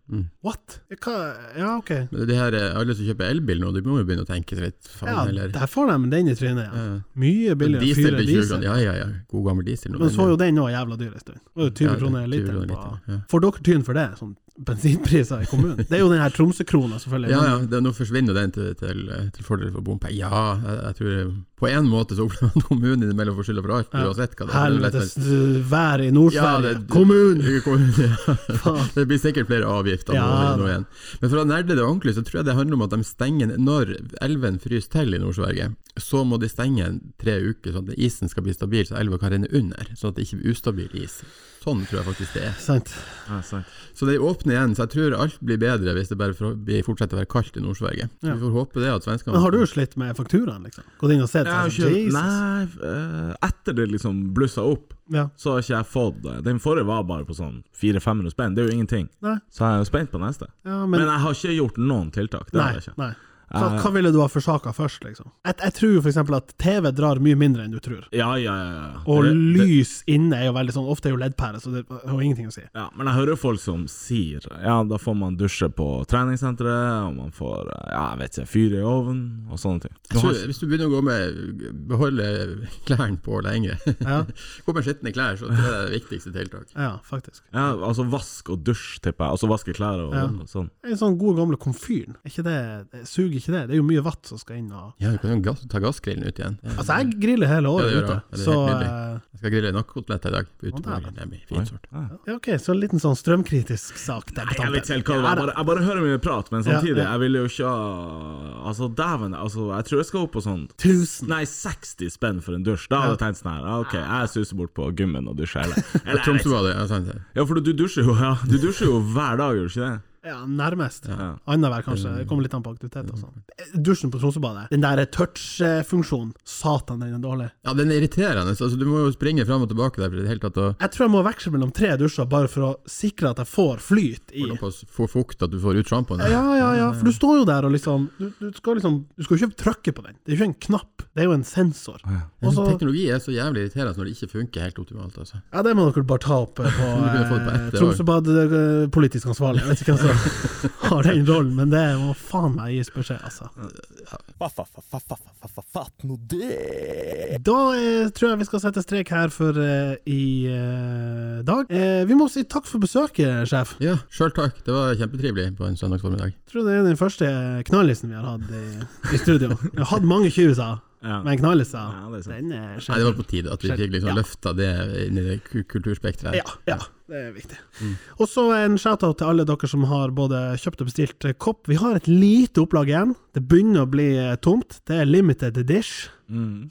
Speaker 3: What? Hva? Ja, ok.
Speaker 4: Men det her, eh, alle som kjøper elbil nå, de må jo begynne å tenke seg litt. Faen,
Speaker 3: Ja,
Speaker 4: eller
Speaker 3: der får de den i trynet. Ja.
Speaker 4: Ja.
Speaker 3: Mye billigere å
Speaker 4: Diesel
Speaker 3: fyre
Speaker 4: blir 20
Speaker 3: diesel.
Speaker 4: kroner. Ja, ja, ja. God gammel diesel. nå,
Speaker 3: Men
Speaker 4: den
Speaker 3: så var
Speaker 4: er-
Speaker 3: jo den òg jævla dyr en stund. Det var jo 20
Speaker 4: Ja, det er
Speaker 3: kroner
Speaker 4: 20
Speaker 3: literen. på-
Speaker 4: kroner literen, ja.
Speaker 3: Får dere tyn for det? Sånn bensinpriser i kommunen? Det er jo den her Tromsø-krona, selvfølgelig.
Speaker 4: Ja, ja, det, nå forsvinner jo den til, til, til fordel for bompenger. Ja, jeg, jeg tror på en måte så opplever man kommunen innimellom for skylda for alt,
Speaker 3: Ja.
Speaker 4: uansett hva det er. Det er.
Speaker 3: Helvetes
Speaker 4: lett-
Speaker 3: øh, vær i
Speaker 4: Ja,
Speaker 3: Nord-Sverige.
Speaker 4: det-
Speaker 3: Kommunen!
Speaker 4: (laughs) Kommunen,
Speaker 3: (laughs) Faen.
Speaker 4: ja. Det blir sikkert flere avgifter nå,
Speaker 3: Ja,
Speaker 4: nå
Speaker 3: da.
Speaker 4: igjen. Men for å nerde det ordentlig, så tror jeg det handler om at de stenger Når elven fryser til i Nord-Sverige, så må de stenge en tre uker, sånn at isen skal bli stabil, så elva kan renne under. Sånn at det ikke blir ustabil is. Sånn tror jeg faktisk det er.
Speaker 3: Sant.
Speaker 2: Ja, sant.
Speaker 4: Så det åpner igjen, så jeg tror alt blir bedre hvis det bare for- blir- fortsetter å være kaldt i Nord-Sverige. Så Vi får håpe det at svenskene
Speaker 3: Men har du slitt med fakturaen, liksom? Gått inn og sett?
Speaker 2: Jeg har
Speaker 3: sånn,
Speaker 2: ikke,
Speaker 3: Jesus.
Speaker 2: nei, eh, etter det liksom blussa opp,
Speaker 3: Ja.
Speaker 2: så har ikke jeg fått det. Den forrige var bare på sånn 400-500 spenn, det er jo ingenting.
Speaker 3: Nei.
Speaker 2: Så jeg er jo spent på neste.
Speaker 3: Ja,
Speaker 2: Men,
Speaker 3: men,
Speaker 2: jeg har ikke gjort noen tiltak. Det
Speaker 3: nei,
Speaker 2: har jeg ikke. Eh,
Speaker 3: nei. Så, hva ville du ha forsaka først, liksom? Jeg, jeg tror jo for eksempel at TV drar mye mindre enn du tror.
Speaker 2: Ja, ja, ja. ja.
Speaker 3: Og
Speaker 2: Det- det-
Speaker 3: lys inne er jo veldig sånn Ofte er jo leddpære, så det har jo ingenting å si.
Speaker 2: Ja, men jeg hører folk som sier Ja, da får man dusje på treningssenteret, og man får eh, ja, jeg vet ikke, fyr i ovnen og sånne ting.
Speaker 4: Jeg tror, hvis du begynner å gå med beholde klærne på lenge
Speaker 3: Ja.
Speaker 4: (laughs) Gå med skitne klær, så tror jeg det er det viktigste tiltak.
Speaker 3: Ja, faktisk.
Speaker 2: Ja, altså vask og dusj, tipper jeg. Altså vaske klær og,
Speaker 3: Ja.
Speaker 2: og sånn.
Speaker 3: En sånn god gamle komfyren, er ikke det, det suger ikke det? Det er jo mye vatt som skal inn og
Speaker 4: Ja, du kan jo gass, ta gassgrillen ut igjen.
Speaker 3: Altså, jeg griller hele året
Speaker 4: Ja, det gjør
Speaker 3: ute,
Speaker 4: jeg. Ja, det er
Speaker 3: så
Speaker 4: helt
Speaker 3: eh,
Speaker 4: Jeg skal grille nakkoteletter i dag. på
Speaker 3: Å,
Speaker 4: Uteborgen. Det blir fin sort.
Speaker 2: Ja.
Speaker 3: ja, OK, så en liten sånn strømkritisk sak der på
Speaker 2: Jeg vet ikke helt hva det
Speaker 3: tampen.
Speaker 2: var. Jeg bare, jeg bare hører mye prat, men samtidig,
Speaker 3: Ja, ja.
Speaker 2: jeg vil jo ikke ha Altså, dæven, altså, jeg tror jeg skal opp på sånn
Speaker 3: Tusen.
Speaker 2: Nei, 60 spenn for en dusj. Da hadde jeg tenkt sånn her, ah, OK, jeg suser bort på gymmen og
Speaker 3: (laughs)
Speaker 2: dusjer, eller, eller jeg vet ikke.
Speaker 4: Tromsøbadet, ja, sant det.
Speaker 2: Ja, for du dusjer jo, ja. Du dusjer jo hver dag, gjør du ikke det?
Speaker 3: Ja, nærmest.
Speaker 2: Ja. Mm.
Speaker 3: Annenhver, kanskje. Det kommer litt an på aktivitet og sånn. Dusjen på Tromsøbadet, den der touch-funksjonen, satan, den er dårlig.
Speaker 4: Ja, den er irriterende. så- Altså, du må jo springe fram og tilbake der for i det hele tatt å
Speaker 3: Jeg tror jeg må veksle mellom tre dusjer bare for å sikre at jeg får flyt i
Speaker 4: såpass få fukt at du får ut sjampoen.
Speaker 3: Ja, ja, ja, for du står jo der og liksom Du, du skal liksom Du skal jo ikke trykke på den. Det er jo ikke en knapp, det er jo en sensor. Og så
Speaker 4: Teknologi er så jævlig irriterende når det ikke funker helt optimalt. altså.
Speaker 3: Ja, det må dere bare ta opp eh, på,
Speaker 4: (laughs) Du kunne fått på
Speaker 3: eh,
Speaker 4: ett, det
Speaker 3: Tromsøbad eh, politisk ansvarlig. Jeg vet ikke hvem som (laughs) har den rollen, men det må faen meg gis beskjed, altså.
Speaker 5: Fatt nå det!
Speaker 3: Da eh, tror jeg vi skal sette strek her for eh, i eh, dag. Eh, vi må si takk for besøket, sjef.
Speaker 4: Ja, sjøl takk. Det var kjempetrivelig på en søndags formiddag.
Speaker 3: Jeg tror det er den første knallisen vi har hatt i, i studio. Vi har hatt mange tjuviser,
Speaker 2: Ja.
Speaker 3: men knalliser,
Speaker 2: Ja, det er sant.
Speaker 3: den er
Speaker 4: Nei, det var
Speaker 3: sjelden.
Speaker 4: på tide at vi fikk liksom
Speaker 3: Ja.
Speaker 4: løfta det inn i det ku- kulturspekteret. her.
Speaker 3: Ja, ja, det er viktig. Og så en shout-out til alle dere som har både kjøpt og bestilt eh, kopp. Vi har et lite opplag igjen. Det begynner å bli eh, tomt. Det er limited dish.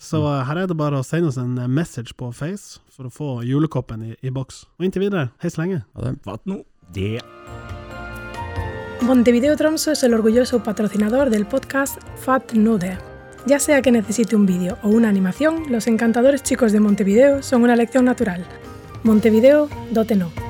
Speaker 3: Så eh, her er det bare å sende oss en eh, message på Face for å få julekoppen i, i boks. Og inntil videre, hei så lenge.
Speaker 4: Ha det.
Speaker 2: Fatt nå.
Speaker 5: Det
Speaker 1: Montevideo Tromso es el orgulloso patrocinador del podcast Fat Nude. Ya sea que necesite un vídeo o una animación, los encantadores chicos de Montevideo son una elección natural. Montevideo, dote no.